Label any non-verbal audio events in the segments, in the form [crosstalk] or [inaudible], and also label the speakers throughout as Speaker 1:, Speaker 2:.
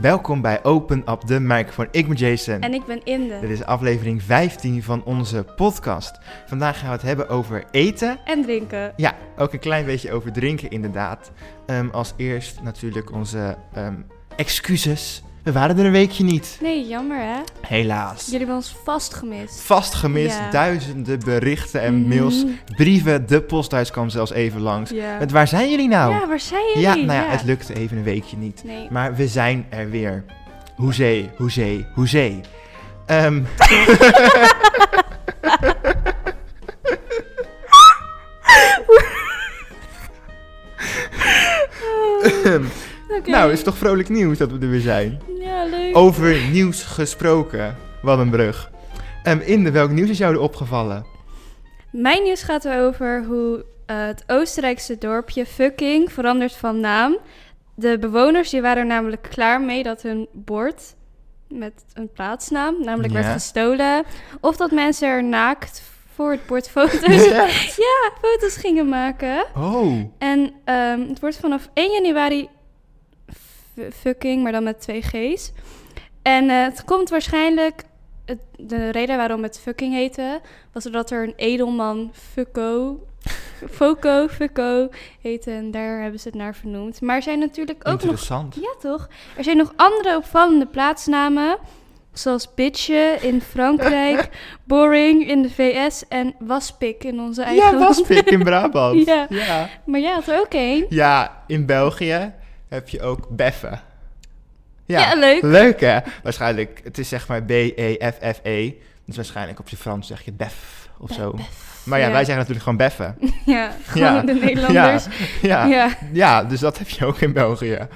Speaker 1: Welkom bij Open Up de Microphone. Ik ben Jason.
Speaker 2: En ik ben
Speaker 1: Dit
Speaker 2: Inde.
Speaker 1: is aflevering 15 van onze podcast. Vandaag gaan we het hebben over eten.
Speaker 2: En drinken.
Speaker 1: Ja, ook een klein beetje over drinken inderdaad. Ehm, als eerst natuurlijk onze ehm, excuses. We waren er een weekje niet.
Speaker 2: Nee, jammer hè.
Speaker 1: Helaas.
Speaker 2: Jullie hebben ons vast gemist.
Speaker 1: Vast gemist,
Speaker 2: Ja.
Speaker 1: duizenden berichten en mails,
Speaker 2: Mhm.
Speaker 1: brieven. De posthuis kwam zelfs even langs.
Speaker 2: Ja.
Speaker 1: Met waar zijn jullie nou?
Speaker 2: ja, waar zijn jullie?
Speaker 1: Ja, nou ja, het lukte even een weekje niet.
Speaker 2: Nee.
Speaker 1: Maar we zijn er weer. Hoezee, hoezee, hoezee. Ehm
Speaker 2: Oh.
Speaker 1: [laughs]
Speaker 2: Oké.
Speaker 1: Nou, is toch Oh. vrolijk nieuws dat we er weer zijn.
Speaker 2: Ja, leuk.
Speaker 1: Over nieuws gesproken. Wat een brug. Ehm Inde, welk nieuws is jou er opgevallen?
Speaker 2: Mijn nieuws gaat erover hoe eh, het Oostenrijkse dorpje Fucking verandert van naam. De bewoners die waren er namelijk klaar mee dat hun bord met een plaatsnaam, namelijk
Speaker 1: Ja.
Speaker 2: werd gestolen. Of dat mensen er naakt voor
Speaker 1: [laughs]
Speaker 2: het bord foto's, ja, foto's gingen maken.
Speaker 1: Oh,
Speaker 2: En ehm, het wordt vanaf 1 januari f- fucking, maar dan met twee G's. En eh, het komt waarschijnlijk. het- de reden waarom het fucking heette, was omdat er een edelman Fucko. Foco, Fucko heette. En daar hebben ze het naar vernoemd. Maar er zijn natuurlijk ook nog.
Speaker 1: interessant.
Speaker 2: Ja, toch? Er zijn nog andere opvallende plaatsnamen. Zoals Bitje in Frankrijk, Boring in de VS en Waspik in onze eigen
Speaker 1: Ja, was
Speaker 2: land.
Speaker 1: ik in Brabant.
Speaker 2: [laughs] Ja.
Speaker 1: ja.
Speaker 2: Maar jij had er ook één.
Speaker 1: Ja, in België heb je ook beffen.
Speaker 2: Ja, leuk.
Speaker 1: Leuk hè? Waarschijnlijk, het is zeg maar E B-E-F-F-E. Dus waarschijnlijk op zijn Frans zeg je bef of zo. Maar ja, wij zeggen natuurlijk gewoon beffen. [laughs]
Speaker 2: [laughs] Ja, gewoon
Speaker 1: Ja.
Speaker 2: de Nederlanders.
Speaker 1: Ja.
Speaker 2: Ja.
Speaker 1: Ja.
Speaker 2: Ja.
Speaker 1: dus dat heb je ook in België.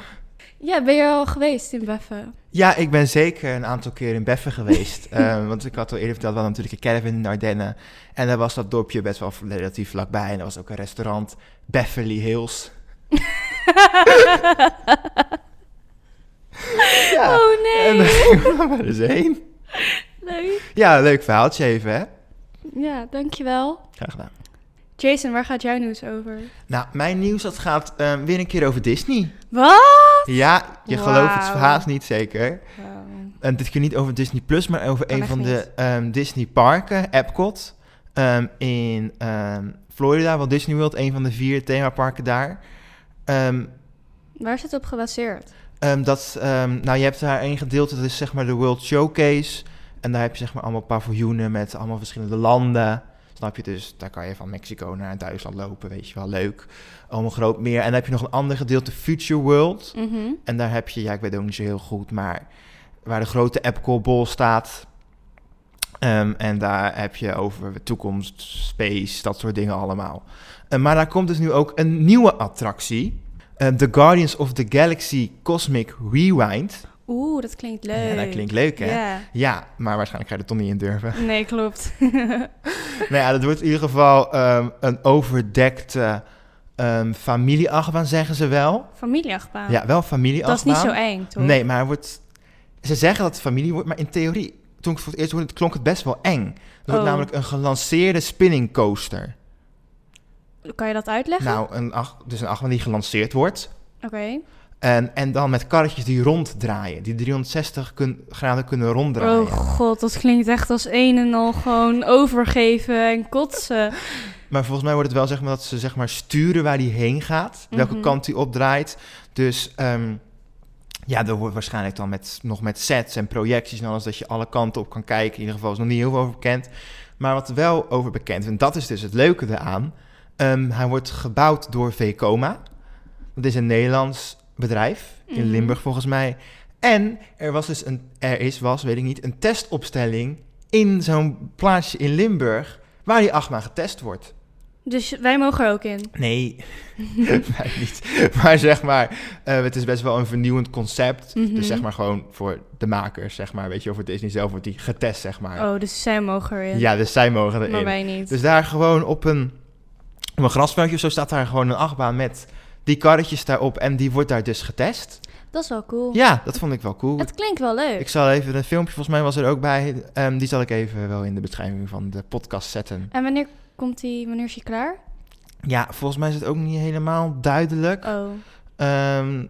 Speaker 2: ben je al geweest in Beffen?
Speaker 1: Ja, ik ben zeker een aantal keer in Beffen [laughs] geweest. Eh, want ik had al eerder verteld, we hadden natuurlijk een caravan in de Ardennen. En daar was dat dorpje best wel relatief vlakbij. En er was ook een restaurant, Beverly Hills. [laughs] [laughs] Ja.
Speaker 2: Oh nee,
Speaker 1: En daar [laughs] gingen we maar eens heen.
Speaker 2: [laughs] leuk.
Speaker 1: Ja, leuk verhaaltje even hè.
Speaker 2: Ja, dankjewel.
Speaker 1: Graag gedaan.
Speaker 2: Jason, waar gaat jouw nieuws over?
Speaker 1: Nou, mijn nieuws dat gaat eh, weer een keer over Disney.
Speaker 2: Wat?
Speaker 1: Ja, je
Speaker 2: Wauw.
Speaker 1: gelooft het haast niet zeker. En dit keer niet over Disney Plus, maar over
Speaker 2: Kan
Speaker 1: een
Speaker 2: echt
Speaker 1: van de
Speaker 2: niet.
Speaker 1: ehm, Disney parken, Epcot. ehm, in ehm, Florida, Walt Disney World, een van de vier themaparken daar. Ehm,
Speaker 2: Waar is het op gebaseerd?
Speaker 1: ehm, dat, ehm, nou, je hebt daar één gedeelte, dat is zeg maar de World Showcase. En daar heb je zeg maar allemaal paviljoenen met allemaal verschillende landen. Snap je dus, daar kan je van Mexico naar Duitsland lopen, weet je wel, leuk. Allemaal groot meer. En dan heb je nog een ander gedeelte, Future World.
Speaker 2: Mhm.
Speaker 1: En daar heb je, ja, ik weet het ook niet zo heel goed, maar waar de grote Epcot Bol staat. Ehm, en daar heb je over toekomst, space, dat soort dingen allemaal. Eh, maar daar komt dus nu ook een nieuwe attractie. Eh, the Guardians of the Galaxy Cosmic Rewind.
Speaker 2: Oeh, dat klinkt leuk.
Speaker 1: Ja, dat klinkt leuk, hè?
Speaker 2: Ja.
Speaker 1: Ja, maar waarschijnlijk ga je er toch niet in durven. [laughs]
Speaker 2: Nee, klopt. [laughs]
Speaker 1: nou ja, dat wordt in ieder geval ehm, een overdekte ehm familieachtbaan, zeggen ze wel.
Speaker 2: Familieachtbaan.
Speaker 1: Ja, wel
Speaker 2: dat is
Speaker 1: familieachtbaan.
Speaker 2: niet zo eng, toch?
Speaker 1: Nee, maar hij wordt... Ze zeggen dat het familie wordt, maar in theorie... Toen ik het voor het eerst hoorde, klonk het best wel eng. Het wordt
Speaker 2: Oh.
Speaker 1: namelijk een gelanceerde spinning coaster.
Speaker 2: Kan je dat uitleggen?
Speaker 1: Nou, een ach, dus een achtbaan die gelanceerd wordt.
Speaker 2: Oké.
Speaker 1: En, en dan met karretjes die ronddraaien. Die 360 kun- graden kunnen ronddraaien.
Speaker 2: Oh god, dat klinkt echt als een en al gewoon overgeven en kotsen.
Speaker 1: Maar volgens mij wordt het wel zeg maar dat ze zeg maar sturen waar die heen gaat. Welke
Speaker 2: Mhm.
Speaker 1: kant die opdraait. Dus ehm, ja, er wordt waarschijnlijk dan met, nog met sets en projecties en alles... dat je alle kanten op kan kijken. In ieder geval is nog niet heel veel over bekend. Maar wat wel over bekend, en dat is dus het leuke eraan... ehm, hij wordt gebouwd door Vekoma. Dat is een Nederlands bedrijf in
Speaker 2: Mhm.
Speaker 1: Limburg volgens mij. En er was dus een, er is, was, weet ik niet, een testopstelling in zo'n plaatsje in Limburg waar die achtbaan getest wordt.
Speaker 2: Dus wij mogen er ook in.
Speaker 1: [laughs] Nee, wij niet. Maar zeg maar, eh, het is best wel een vernieuwend concept.
Speaker 2: Mhm.
Speaker 1: Dus zeg maar gewoon voor de makers, zeg maar. Weet je, of voor Disney zelf wordt die getest, zeg maar.
Speaker 2: Oh, dus zij mogen erin.
Speaker 1: Ja, dus zij mogen
Speaker 2: maar
Speaker 1: erin.
Speaker 2: wij niet.
Speaker 1: Dus daar gewoon op een, op een grasveldje of zo staat daar gewoon een achtbaan met die karretjes daarop. En die wordt daar dus getest.
Speaker 2: dat is wel cool.
Speaker 1: Ja, dat vond ik wel cool.
Speaker 2: Het klinkt wel leuk.
Speaker 1: Ik zal even een filmpje, volgens mij was er ook bij. Ehm, die zal ik even wel in de beschrijving van de podcast zetten.
Speaker 2: En wanneer komt die, wanneer is die klaar?
Speaker 1: Ja, volgens mij is het ook niet helemaal duidelijk.
Speaker 2: Oh,
Speaker 1: Ehm,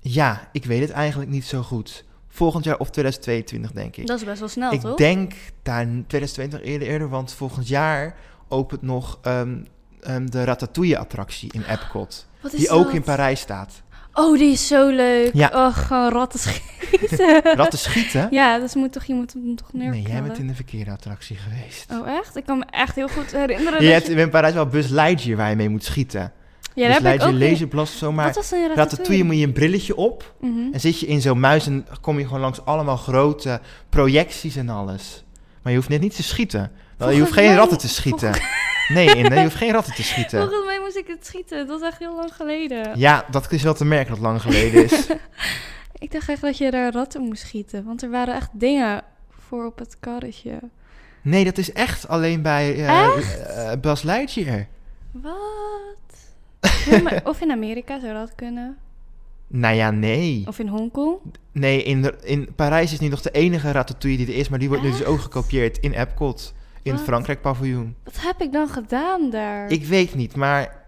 Speaker 1: Ja, ik weet het eigenlijk niet zo goed. Volgend jaar of 2022, denk ik.
Speaker 2: Dat is best wel snel,
Speaker 1: ik
Speaker 2: toch?
Speaker 1: denk daar 2022 eerder, eerder, want volgend jaar opent nog ehm, ehm, de Ratatouille-attractie in Epcot.
Speaker 2: [gasps] Wat is
Speaker 1: Die ook
Speaker 2: dat?
Speaker 1: in Parijs staat.
Speaker 2: Oh, die is zo leuk.
Speaker 1: Ja.
Speaker 2: Oh, gewoon ratten [laughs] schieten.
Speaker 1: [laughs] Ratten schieten?
Speaker 2: Ja, dus moet toch, je moet hem toch
Speaker 1: nee, jij bent
Speaker 2: neerknallen.
Speaker 1: in de verkeerde attractie geweest.
Speaker 2: Oh, echt? Ik kan me echt heel goed herinneren.
Speaker 1: je
Speaker 2: dat
Speaker 1: hebt in Parijs wel Buzz Lightyear waar je mee moet schieten.
Speaker 2: Ja,
Speaker 1: Buzz
Speaker 2: daar heb ik
Speaker 1: Lightyear,
Speaker 2: ook niet-
Speaker 1: Laserblast of zo, maar
Speaker 2: Wat was een
Speaker 1: Ratatouille moet je een brilletje op.
Speaker 2: Mhm.
Speaker 1: En zit je in zo'n muis en kom je gewoon langs allemaal grote projecties en alles. Maar je hoeft net niet te schieten. Nou, je
Speaker 2: Volgens
Speaker 1: hoeft geen
Speaker 2: mij-
Speaker 1: ratten te schieten. Nee, Inde, je hoeft geen ratten te schieten.
Speaker 2: Volgens mij moest ik het schieten. Dat was echt heel lang geleden.
Speaker 1: Ja, dat is wel te merken dat het lang geleden is.
Speaker 2: Ik dacht echt dat je daar ratten moest schieten. Want er waren echt dingen voor op het karretje.
Speaker 1: Nee, dat is echt alleen bij eh eh, Bas Lightyear.
Speaker 2: Wat? Ja, maar of in Amerika zou dat kunnen.
Speaker 1: Nou ja, nee.
Speaker 2: Of in Hongkong.
Speaker 1: Nee, in, de- in Parijs is nu nog de enige ratatouille die er is, maar die wordt nu dus ook gekopieerd in Epcot. In het
Speaker 2: Wat?
Speaker 1: Frankrijk paviljoen.
Speaker 2: Wat heb ik dan gedaan daar?
Speaker 1: Ik weet niet, maar...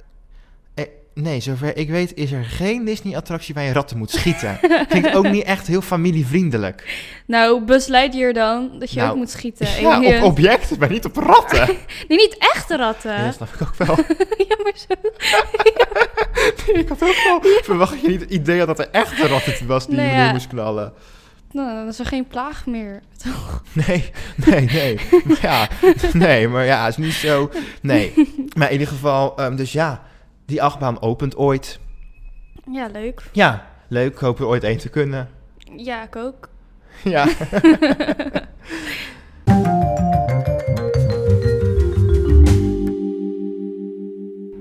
Speaker 1: eh, nee, zover ik weet is er geen Disney-attractie waar je ratten moet schieten. Klinkt ook niet echt heel familievriendelijk.
Speaker 2: [laughs] Nou, Bus Lightyear dan. Dat je
Speaker 1: Nou,
Speaker 2: ook moet schieten.
Speaker 1: Ja,
Speaker 2: Alien.
Speaker 1: op objecten, maar niet op ratten.
Speaker 2: Nee, niet echte ratten.
Speaker 1: Ja, dat snap ik oh, ook wel.
Speaker 2: [laughs] ja, maar zo.
Speaker 1: ik had ook wel [laughs] verwacht dat je niet het idee had dat er echt een rat was die
Speaker 2: Nou
Speaker 1: je
Speaker 2: ja.
Speaker 1: neer moest knallen.
Speaker 2: Nou, dan is er geen plaag meer. Toch?
Speaker 1: Nee, nee, nee. Maar ja, nee, maar ja, is niet zo. Nee. Maar in ieder geval, ehm, dus ja, die achtbaan opent ooit.
Speaker 2: Ja, leuk.
Speaker 1: Ja, leuk. Ik hoop er ooit één te kunnen. [laughs]
Speaker 2: Ja, ik ook.
Speaker 1: Ja.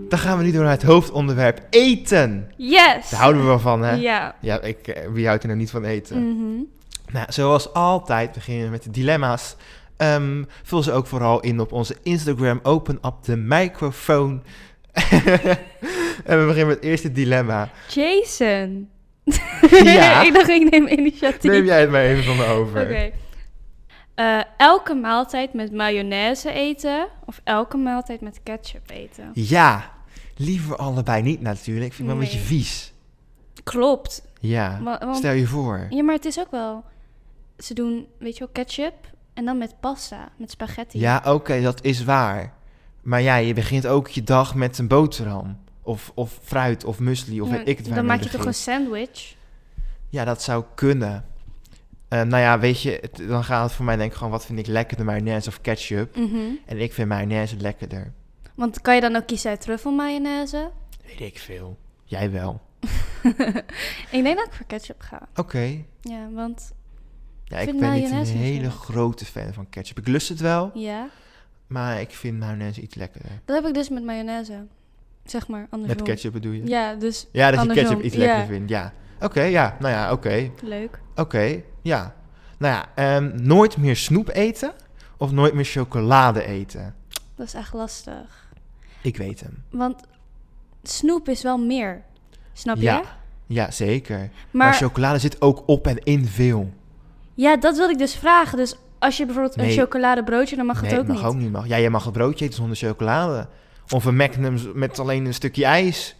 Speaker 1: Dan gaan we nu door naar het hoofdonderwerp eten.
Speaker 2: [laughs] Yes!
Speaker 1: Daar houden we wel van, hè?
Speaker 2: Ja.
Speaker 1: Ja, ik, eh, wie houdt er nou niet van eten?
Speaker 2: Mhm.
Speaker 1: Nou, zoals altijd beginnen we met de dilemma's. Ehm, vul ze ook vooral in op onze Instagram. Open up de microfoon. [laughs] en we beginnen met het eerste dilemma.
Speaker 2: Jason.
Speaker 1: Ja.
Speaker 2: [laughs] ik dacht, ik neem initiatief.
Speaker 1: Neem jij het maar even van me over.
Speaker 2: Oké. Eh, elke maaltijd met mayonaise eten of elke maaltijd met ketchup eten?
Speaker 1: Ja, liever allebei niet natuurlijk. Ik vind het wel een
Speaker 2: Nee.
Speaker 1: beetje vies.
Speaker 2: Klopt.
Speaker 1: Ja,
Speaker 2: Wa- want-
Speaker 1: stel je voor.
Speaker 2: Ja, maar het is ook wel... Ze doen, weet je wel, ketchup en dan met pasta, met spaghetti.
Speaker 1: Ja, oké, dat is waar. Maar ja, je begint ook je dag met een boterham. Of, of fruit, of muesli, of
Speaker 2: Ja,
Speaker 1: weet ik het
Speaker 2: Dan
Speaker 1: waarmee
Speaker 2: maak je toch
Speaker 1: begint.
Speaker 2: een sandwich?
Speaker 1: Ja, dat zou kunnen. Eh, nou ja, weet je, het- dan gaat het voor mij denk ik gewoon... wat vind ik lekkerder, mayonaise of ketchup?
Speaker 2: Mhm.
Speaker 1: En ik vind mayonaise lekkerder.
Speaker 2: Want kan je dan ook kiezen uit truffelmayonaise?
Speaker 1: Weet ik veel. Jij wel.
Speaker 2: Ik denk dat ik voor ketchup ga.
Speaker 1: Oké.
Speaker 2: Ja, want...
Speaker 1: Ja,
Speaker 2: Ik
Speaker 1: ik,
Speaker 2: vind
Speaker 1: ben niet een
Speaker 2: mayonaise niet zo
Speaker 1: hele
Speaker 2: lekker.
Speaker 1: grote fan van ketchup. Ik lust het wel,
Speaker 2: Ja,
Speaker 1: maar ik vind mayonaise iets lekkerder.
Speaker 2: dat heb ik dus met mayonaise. Zeg maar, andersom.
Speaker 1: Met ketchup bedoel je? Ja,
Speaker 2: Ja, dus
Speaker 1: dat je
Speaker 2: andersom,
Speaker 1: ketchup iets
Speaker 2: ja.
Speaker 1: lekkerder vindt, ja. Oké, ja, nou ja, oké.
Speaker 2: leuk.
Speaker 1: Oké, ja. Nou ja, ehm, nooit meer snoep eten of nooit meer chocolade eten?
Speaker 2: Dat is echt lastig.
Speaker 1: Ik weet hem.
Speaker 2: Want snoep is wel meer. Snap je?
Speaker 1: Ja, ja zeker. Maar,
Speaker 2: Maar
Speaker 1: chocolade zit ook op en in veel.
Speaker 2: ja, dat wilde ik dus vragen. Dus als je bijvoorbeeld
Speaker 1: Nee.
Speaker 2: een chocoladebroodje, dan mag
Speaker 1: nee,
Speaker 2: het ook
Speaker 1: mag
Speaker 2: niet.
Speaker 1: ook niet. Mag. Ja, je mag een broodje eten zonder chocolade. Of een magnum z- met alleen een stukje ijs.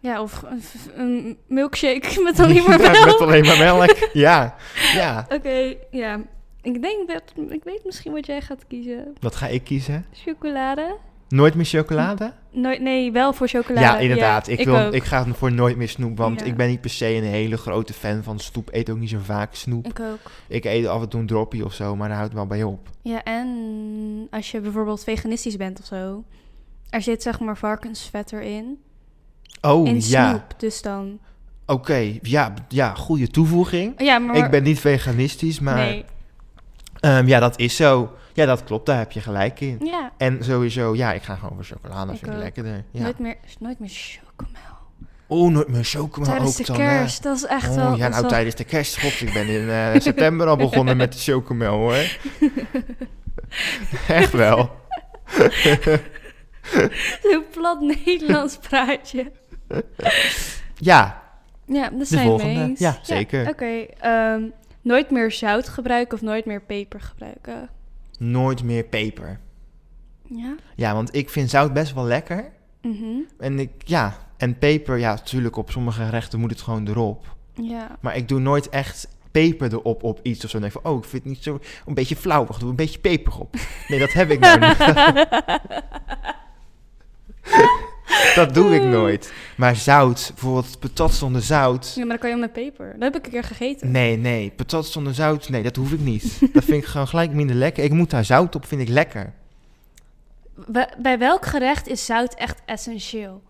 Speaker 2: Ja, of een, v- een milkshake [laughs]
Speaker 1: [laughs]
Speaker 2: met alleen maar
Speaker 1: Ja,
Speaker 2: melk.
Speaker 1: met alleen maar melk. ja, ja.
Speaker 2: [laughs] Oké, ja. Ik denk dat... Ik weet misschien wat jij gaat kiezen.
Speaker 1: Wat ga ik kiezen?
Speaker 2: Chocolade?
Speaker 1: Nooit meer chocolade?
Speaker 2: Nooit, nee, wel voor chocolade.
Speaker 1: ja, inderdaad. ik, wil,
Speaker 2: ook.
Speaker 1: ik ga voor nooit meer snoep. Want
Speaker 2: Ja.
Speaker 1: ik ben niet per se een hele grote fan van snoep. Eet ook niet zo vaak snoep.
Speaker 2: Ik ook.
Speaker 1: Ik eet af en toe een droppie of zo, maar daar houdt het wel bij op.
Speaker 2: Ja, en als je bijvoorbeeld veganistisch bent of zo... Er zit zeg maar varkensvet erin.
Speaker 1: Oh,
Speaker 2: in
Speaker 1: ja.
Speaker 2: snoep, dus dan...
Speaker 1: Oké, ja, ja, goede toevoeging.
Speaker 2: Ja, maar...
Speaker 1: Ik ben niet veganistisch, maar...
Speaker 2: Nee.
Speaker 1: Ehm, ja, dat is zo. Ja, dat klopt. Daar heb je gelijk in.
Speaker 2: Ja.
Speaker 1: En sowieso, ja, ik ga gewoon voor chocolade.
Speaker 2: Ik
Speaker 1: vind ik
Speaker 2: ook.
Speaker 1: lekkerder. Ja.
Speaker 2: Nooit meer, nooit meer chocomel.
Speaker 1: Oh, nooit meer chocomel
Speaker 2: Tijdens
Speaker 1: ook
Speaker 2: de
Speaker 1: dan, hè?
Speaker 2: kerst, dat is echt
Speaker 1: oh,
Speaker 2: wel...
Speaker 1: ja,
Speaker 2: dat is
Speaker 1: nou
Speaker 2: wel- [laughs]
Speaker 1: tijdens de kerst. God, ik ben in eh, [laughs] september al begonnen met de chocomel,
Speaker 2: [laughs]
Speaker 1: hoor. Echt wel.
Speaker 2: Heel plat Nederlands praatje.
Speaker 1: Ja,
Speaker 2: Ja, dat
Speaker 1: de
Speaker 2: zijn we
Speaker 1: volgende.
Speaker 2: eens.
Speaker 1: Ja, zeker.
Speaker 2: Oké, ehm, nooit meer zout gebruiken of nooit meer peper gebruiken.
Speaker 1: Nooit meer peper.
Speaker 2: Ja?
Speaker 1: Ja, want ik vind zout best wel lekker.
Speaker 2: Mhm.
Speaker 1: En ik, ja, en peper, ja, natuurlijk op sommige gerechten moet het gewoon erop.
Speaker 2: Ja.
Speaker 1: Maar ik doe nooit echt peper erop op iets of zo. Dan denk ik van, oh, ik vind het niet zo... Een beetje flauwig, doe een beetje peper op. Nee, dat heb ik nou
Speaker 2: [laughs]
Speaker 1: niet. Dat doe ik nooit. Maar zout, bijvoorbeeld patat zonder zout.
Speaker 2: Ja, maar dan kan je met peper. Dat heb ik een keer gegeten.
Speaker 1: Nee, nee, patat zonder zout, nee, dat hoef ik
Speaker 2: [laughs]
Speaker 1: niet. Dat vind ik gewoon gelijk minder lekker. Ik moet daar zout op, vind ik lekker.
Speaker 2: Bij, bij welk gerecht is zout echt essentieel?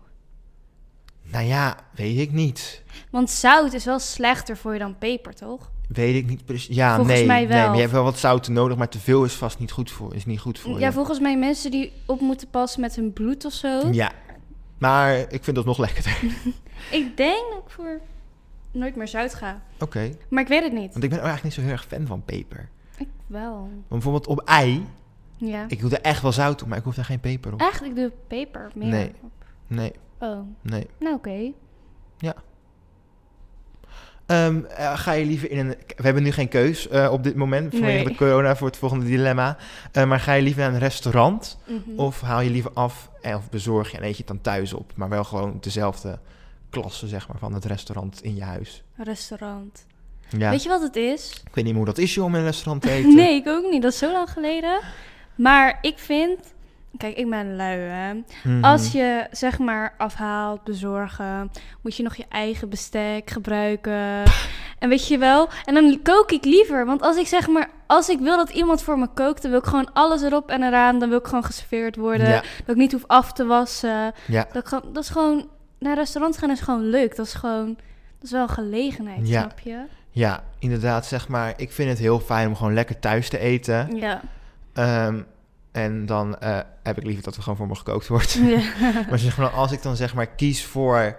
Speaker 1: Nou ja, weet ik niet.
Speaker 2: Want zout is wel slechter voor je dan peper, toch?
Speaker 1: Weet ik niet precies. Ja,
Speaker 2: Volgens
Speaker 1: nee,
Speaker 2: mij wel.
Speaker 1: nee, maar je hebt wel wat zouten nodig, maar te veel is vast niet goed voor. Is niet goed voor.
Speaker 2: Ja,
Speaker 1: je.
Speaker 2: volgens mij mensen die op moeten passen met hun bloed of zo.
Speaker 1: ja. Maar ik vind dat nog lekkerder. [laughs]
Speaker 2: Ik denk dat ik voor nooit meer zout ga.
Speaker 1: Oké,
Speaker 2: Maar ik weet het niet.
Speaker 1: want ik ben ook eigenlijk niet zo heel erg fan van peper.
Speaker 2: Ik wel.
Speaker 1: Want bijvoorbeeld op ei,
Speaker 2: Ja.
Speaker 1: ik doe er echt wel zout op, maar ik hoef daar geen peper op.
Speaker 2: Echt, ik doe peper meer.
Speaker 1: Nee. Nee,
Speaker 2: Oh,
Speaker 1: nee.
Speaker 2: nou oké.
Speaker 1: Ehm, eh, ga je liever in een. We hebben nu geen keus eh, op dit moment vanwege
Speaker 2: Nee.
Speaker 1: de corona voor het volgende dilemma. Eh, maar ga je liever naar een restaurant
Speaker 2: Mhm.
Speaker 1: of haal je liever af en- of bezorg je en eet je het dan thuis op, maar wel gewoon dezelfde klasse zeg maar van het restaurant in je huis.
Speaker 2: Restaurant.
Speaker 1: Ja,
Speaker 2: Weet je wat het is?
Speaker 1: ik weet niet meer hoe dat is joh, om in een restaurant te eten.
Speaker 2: [laughs] Nee, ik ook niet. Dat is zo lang geleden. Maar ik vind... Kijk, ik ben lui, hè.
Speaker 1: Mhm.
Speaker 2: Als je, zeg maar, afhaalt, bezorgen... moet je nog je eigen bestek gebruiken. En weet je wel? En dan kook ik liever. Want als ik, zeg maar... Als ik wil dat iemand voor me kookt... dan wil ik gewoon alles erop en eraan. Dan wil ik gewoon geserveerd worden.
Speaker 1: Ja.
Speaker 2: Dat ik niet hoef af te wassen.
Speaker 1: Ja.
Speaker 2: Dat, ik gewoon- dat is gewoon... Naar restaurants gaan is gewoon leuk. Dat is gewoon... Dat is wel een gelegenheid,
Speaker 1: Ja.
Speaker 2: snap je?
Speaker 1: ja, inderdaad zeg maar. Ik vind het heel fijn om gewoon lekker thuis te eten.
Speaker 2: Ja.
Speaker 1: Ehm, en dan eh, heb ik liever dat er gewoon voor me gekookt wordt.
Speaker 2: [laughs] ja.
Speaker 1: Maar zeg maar, als ik dan zeg maar kies voor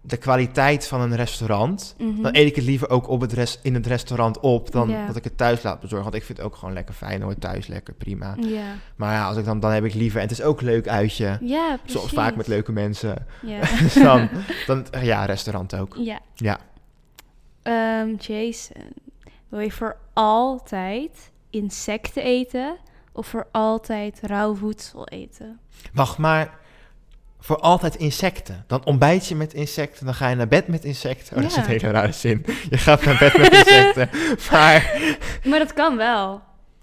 Speaker 1: de kwaliteit van een restaurant,
Speaker 2: Mhm.
Speaker 1: dan eet ik het liever ook op het rest, in het restaurant op dan
Speaker 2: Ja.
Speaker 1: dat ik het thuis laat bezorgen. Want ik vind het ook gewoon lekker fijn hoor, thuis lekker, prima.
Speaker 2: Ja,
Speaker 1: Maar ja, als ik dan, dan heb ik liever, en het is ook een leuk uitje,
Speaker 2: ja precies.
Speaker 1: soms vaak met leuke
Speaker 2: [laughs]
Speaker 1: mensen, [laughs]
Speaker 2: Ja.
Speaker 1: dus dan, dan ja, restaurant ook.
Speaker 2: ja.
Speaker 1: Ja.
Speaker 2: Ehm, Jason, wil je voor altijd insecten eten of voor altijd rauw voedsel eten?
Speaker 1: Wacht maar, voor altijd insecten. Dan ontbijt je met insecten, dan ga je naar bed met insecten. Oh, dat is
Speaker 2: Ja.
Speaker 1: een hele rare zin. Je gaat naar bed met [laughs] insecten, maar
Speaker 2: Maar dat kan wel.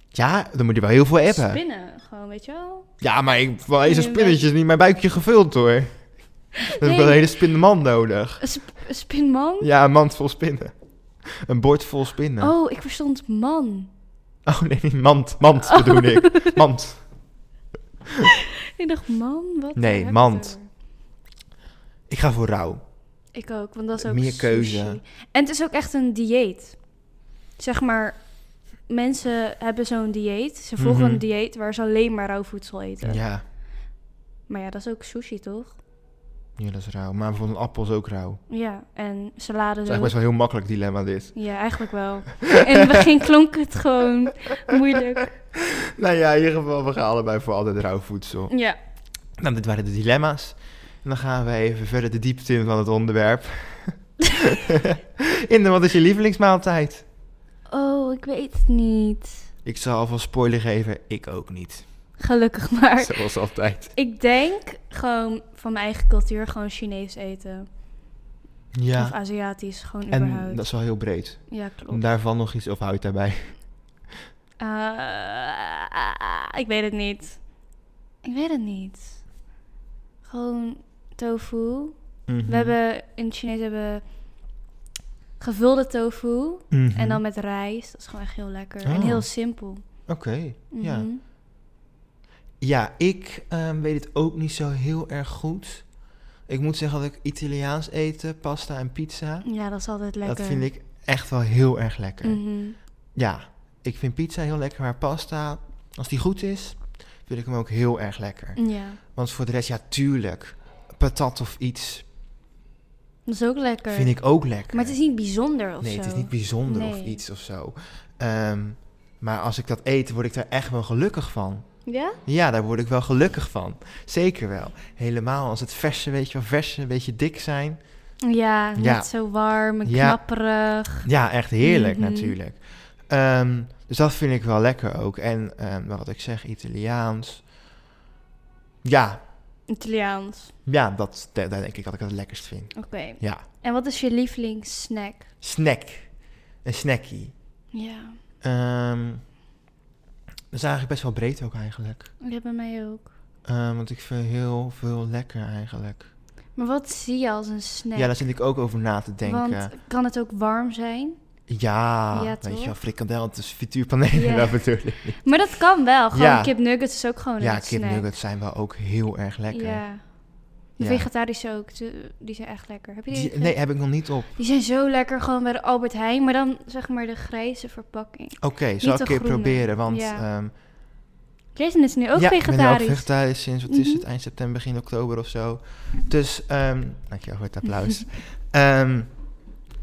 Speaker 1: ja, dan moet je wel heel veel hebben.
Speaker 2: Spinnen, gewoon, weet je wel?
Speaker 1: Ja, maar ik, wel eens een
Speaker 2: Je
Speaker 1: spinnetje is niet mijn buikje gevuld hoor. Dan heb ik wel een
Speaker 2: Nee.
Speaker 1: hele spinnenmand nodig.
Speaker 2: Een sp- een spinman?
Speaker 1: Ja, een mand vol spinnen. Een bord vol spinnen. Oh,
Speaker 2: Oh, ik verstond man.
Speaker 1: nee, niet mand. Mand bedoel [laughs] ik. Mand.
Speaker 2: Ik dacht man, wat?
Speaker 1: Nee,
Speaker 2: heb je
Speaker 1: mand.
Speaker 2: het over?
Speaker 1: Ik ga voor rouw.
Speaker 2: Ik ook, want dat is ook
Speaker 1: Meer keuze.
Speaker 2: sushi. En het is ook echt een dieet. Zeg maar, mensen hebben zo'n dieet. Ze volgen
Speaker 1: Mhm.
Speaker 2: een dieet waar ze alleen maar rauw voedsel eten.
Speaker 1: Ja.
Speaker 2: Maar ja, dat is ook sushi, toch?
Speaker 1: ja, dat is rouw. Maar bijvoorbeeld een appel is ook rouw.
Speaker 2: Ja, en salade.
Speaker 1: Dat is
Speaker 2: zo-
Speaker 1: eigenlijk best wel een heel makkelijk dilemma dit.
Speaker 2: Ja, eigenlijk wel. In het begin klonk het gewoon moeilijk.
Speaker 1: Nou ja, in ieder geval, we gaan allebei voor altijd rauw voedsel.
Speaker 2: Ja.
Speaker 1: Nou, dit waren de dilemma's. En dan gaan we even verder de diepte in van het onderwerp. [laughs] in de, wat is je lievelingsmaaltijd?
Speaker 2: Oh, ik weet het niet.
Speaker 1: Ik zal alvast spoiler geven, ik ook niet.
Speaker 2: Gelukkig maar.
Speaker 1: Zoals altijd.
Speaker 2: Ik denk gewoon van mijn eigen cultuur gewoon Chinees eten. Of
Speaker 1: Ja,
Speaker 2: Aziatisch, gewoon
Speaker 1: en
Speaker 2: überhaupt.
Speaker 1: dat is wel heel breed.
Speaker 2: Ja,
Speaker 1: Om
Speaker 2: klopt.
Speaker 1: daarvan nog iets, of hou je het daarbij?
Speaker 2: Eh, ik weet het niet. Ik weet het niet. Gewoon tofu.
Speaker 1: Mhm.
Speaker 2: We hebben in het Chinees hebben gevulde tofu.
Speaker 1: Mhm.
Speaker 2: En dan met rijst. Dat is gewoon echt heel lekker. En
Speaker 1: Oh.
Speaker 2: heel simpel.
Speaker 1: Oké, ja.
Speaker 2: Mhm.
Speaker 1: Ja, ik ehm, weet het ook niet zo heel erg goed. Ik moet zeggen dat ik Italiaans eten, pasta en pizza...
Speaker 2: Ja, dat is altijd lekker.
Speaker 1: Dat vind ik echt wel heel erg lekker.
Speaker 2: Mhm.
Speaker 1: Ja, ik vind pizza heel lekker, maar pasta, als die goed is, vind ik hem ook heel erg lekker.
Speaker 2: Ja,
Speaker 1: Want voor de rest, ja, tuurlijk, patat of iets
Speaker 2: dat is ook lekker.
Speaker 1: vind ik ook lekker.
Speaker 2: Maar het is niet bijzonder of
Speaker 1: nee,
Speaker 2: zo.
Speaker 1: het is niet bijzonder of
Speaker 2: Nee.
Speaker 1: iets of zo. Ehm, maar als ik dat eet, word ik daar echt wel gelukkig van.
Speaker 2: Ja?
Speaker 1: Ja, daar word ik wel gelukkig van. Zeker wel. Helemaal als het verse, weet je wel, verse, een beetje dik zijn.
Speaker 2: Ja,
Speaker 1: Ja.
Speaker 2: niet zo warm en
Speaker 1: Ja.
Speaker 2: knapperig.
Speaker 1: Ja, echt heerlijk
Speaker 2: Mhm.
Speaker 1: natuurlijk. Ehm, dus dat vind ik wel lekker ook. En ehm, wat ik zeg, Italiaans. Ja,
Speaker 2: Italiaans.
Speaker 1: Ja, dat, dat denk ik dat ik het lekkerst vind.
Speaker 2: Oké.
Speaker 1: Ja.
Speaker 2: En wat is je lievelingssnack?
Speaker 1: Snack. Een snackie.
Speaker 2: Ja,
Speaker 1: Ehm, dat is eigenlijk best wel breed ook eigenlijk.
Speaker 2: ja, bij mij ook.
Speaker 1: Ehm, want ik vind heel veel lekker eigenlijk.
Speaker 2: Maar wat zie je als een snack?
Speaker 1: Ja, daar zit ik ook over na te denken.
Speaker 2: Want kan het ook warm zijn?
Speaker 1: Ja,
Speaker 2: Ja,
Speaker 1: weet je
Speaker 2: toch?
Speaker 1: wel, frikandel tussen frituurpanelen,
Speaker 2: Ja.
Speaker 1: [laughs] dat bedoel ik.
Speaker 2: Maar dat kan wel. Gewoon
Speaker 1: Ja.
Speaker 2: kipnuggets is ook gewoon een
Speaker 1: Ja,
Speaker 2: snack.
Speaker 1: kipnuggets zijn wel ook heel erg lekker.
Speaker 2: Ja. De
Speaker 1: Ja.
Speaker 2: vegetarische ook, de- die zijn echt lekker. Heb je die,
Speaker 1: Die-
Speaker 2: nee.
Speaker 1: nee, heb ik nog niet op.
Speaker 2: die zijn zo lekker, gewoon bij de Albert Heijn. Maar dan zeg maar de grijze verpakking.
Speaker 1: Oké, zal ik
Speaker 2: de
Speaker 1: een keer
Speaker 2: groene.
Speaker 1: proberen, want...
Speaker 2: Ja.
Speaker 1: ehm,
Speaker 2: Jason is nu ook
Speaker 1: ja, ik ben
Speaker 2: vegetarisch.
Speaker 1: ook vegetarisch sinds, wat is het,
Speaker 2: Mhm.
Speaker 1: eind september, begin oktober of zo. Dus, ehm dankjewel voor het
Speaker 2: [laughs]
Speaker 1: applaus. Ehm,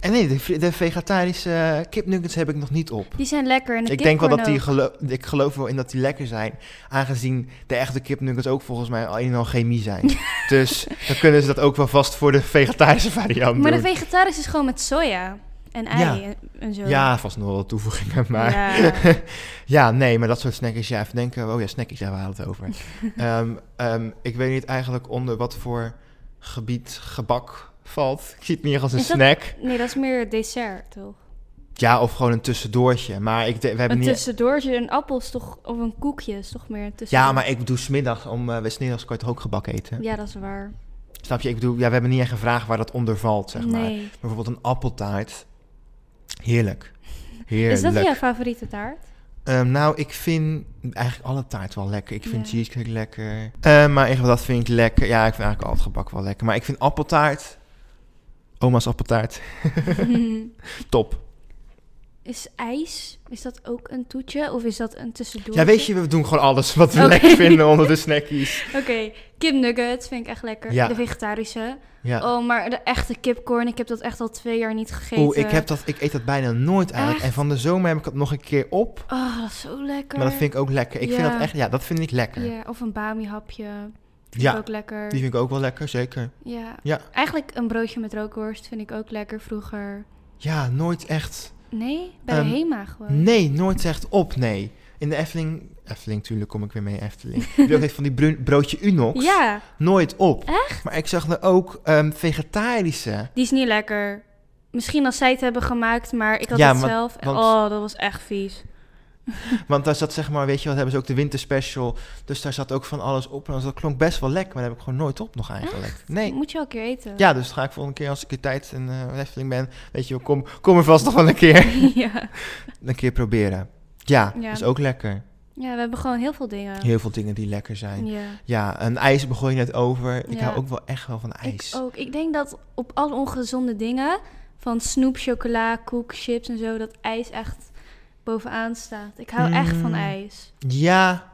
Speaker 1: en nee, de, vri- de vegetarische eh, kipnuggets heb ik nog niet op.
Speaker 2: Die zijn lekker. En de
Speaker 1: Ik denk wel dat
Speaker 2: kipcorn
Speaker 1: die
Speaker 2: ook.
Speaker 1: gelo- ik geloof wel in dat die lekker zijn, aangezien de echte kipnuggets ook volgens mij al een en al chemie zijn.
Speaker 2: [laughs]
Speaker 1: dus dan kunnen ze dat ook wel vast voor de vegetarische variant
Speaker 2: Maar de
Speaker 1: doen.
Speaker 2: vegetarisch is gewoon met soja en ei
Speaker 1: Ja.
Speaker 2: en, en zo.
Speaker 1: ja, vast nog wel wat toevoegingen, maar ja. [laughs]
Speaker 2: Ja.
Speaker 1: nee, maar dat soort snackjes, ja, even denken, oh ja, snackjes, daar waren we het
Speaker 2: [laughs]
Speaker 1: over. Ehm, ehm, ik weet niet eigenlijk onder wat voor gebied gebak valt. Ik zie het meer als een
Speaker 2: Is dat-
Speaker 1: snack.
Speaker 2: Nee, dat is meer dessert, toch?
Speaker 1: Ja, of gewoon een tussendoortje, maar ik, de- we hebben
Speaker 2: Een
Speaker 1: niet...
Speaker 2: tussendoortje, een appel is toch... Of een koekje is toch meer een
Speaker 1: Ja,
Speaker 2: tussendoortje?
Speaker 1: maar ik doe smiddags om, eh we smiddags kan je toch ook gebak eten?
Speaker 2: Ja, dat is waar.
Speaker 1: Snap je? Ik bedoel, ja, we hebben niet echt gevraagd waar dat onder valt, zeg maar.
Speaker 2: nee.
Speaker 1: Bijvoorbeeld een appeltaart. Heerlijk.
Speaker 2: Is
Speaker 1: Heerlijk.
Speaker 2: dat jouw favoriete taart? [laughs]
Speaker 1: Ehm, nou, ik vind eigenlijk alle taart wel lekker. Ik vind
Speaker 2: Ja.
Speaker 1: cheesecake lekker. Eh, maar echt, dat vind ik lekker. Ja, ik vind eigenlijk al het gebak wel lekker. Maar ik vind appeltaart... Oma's appeltaart. [laughs] Top.
Speaker 2: is ijs, is dat ook een toetje? Of is dat een tussendoortje?
Speaker 1: Ja, weet je, we doen gewoon alles wat we
Speaker 2: [laughs] Oké.
Speaker 1: lekker vinden onder de snackies.
Speaker 2: Oké, kipnuggets vind ik echt lekker.
Speaker 1: Ja.
Speaker 2: De vegetarische.
Speaker 1: Ja.
Speaker 2: Oh, maar de echte kipcorn, ik heb dat echt al twee jaar niet gegeten.
Speaker 1: Oeh, ik, heb dat, ik eet dat bijna nooit eigenlijk.
Speaker 2: Echt?
Speaker 1: En van de zomer heb ik dat nog een keer op.
Speaker 2: Oh, dat is zo lekker.
Speaker 1: Maar dat vind ik ook lekker. Ik vind
Speaker 2: Ja.
Speaker 1: dat echt... Ja, dat vind ik lekker.
Speaker 2: Ja, of een bami-hapje. Vind
Speaker 1: Ja,
Speaker 2: ik ook lekker.
Speaker 1: Die vind ik ook wel lekker, zeker.
Speaker 2: Ja.
Speaker 1: Ja.
Speaker 2: Eigenlijk een broodje met rookworst vind ik ook lekker vroeger.
Speaker 1: Ja, nooit echt.
Speaker 2: Nee, bij
Speaker 1: Ehm,
Speaker 2: de Hema gewoon.
Speaker 1: Nee, nooit echt op, nee. In de Efteling, Efteling natuurlijk kom ik weer mee, Efteling. Die ook heeft van die brun- broodje Unox.
Speaker 2: Ja,
Speaker 1: Nooit op. Echt? Maar ik zag er ook ehm, vegetarische.
Speaker 2: die is niet lekker. Misschien als zij het hebben gemaakt, maar ik had
Speaker 1: Ja,
Speaker 2: het
Speaker 1: maar-
Speaker 2: zelf. En,
Speaker 1: want-
Speaker 2: oh, dat was echt vies.
Speaker 1: Want daar zat zeg maar, weet je wat, hebben ze ook de winterspecial. Dus daar zat ook van alles op. En dat klonk best wel lekker, maar dat heb ik gewoon nooit op nog eigenlijk. Nee.
Speaker 2: Moet je wel een keer eten.
Speaker 1: Ja, dus ga ik volgende keer als ik weer tijd in eh Efteling ben, weet je wel, kom, kom er vast nog wel een keer.
Speaker 2: [laughs] [laughs] ja.
Speaker 1: Een keer proberen. Ja,
Speaker 2: Ja.
Speaker 1: is ook lekker.
Speaker 2: Ja, we hebben gewoon heel veel dingen.
Speaker 1: Heel veel dingen die lekker zijn.
Speaker 2: Ja.
Speaker 1: Ja, een ijs begon je net over. Ik
Speaker 2: Ja.
Speaker 1: hou ook wel echt wel van
Speaker 2: Ik
Speaker 1: ijs.
Speaker 2: ook. Ik denk dat op alle ongezonde dingen, van snoep, chocola, koek, chips en zo, dat ijs echt bovenaan staat. Ik hou echt van
Speaker 1: Mm.
Speaker 2: ijs.
Speaker 1: Ja.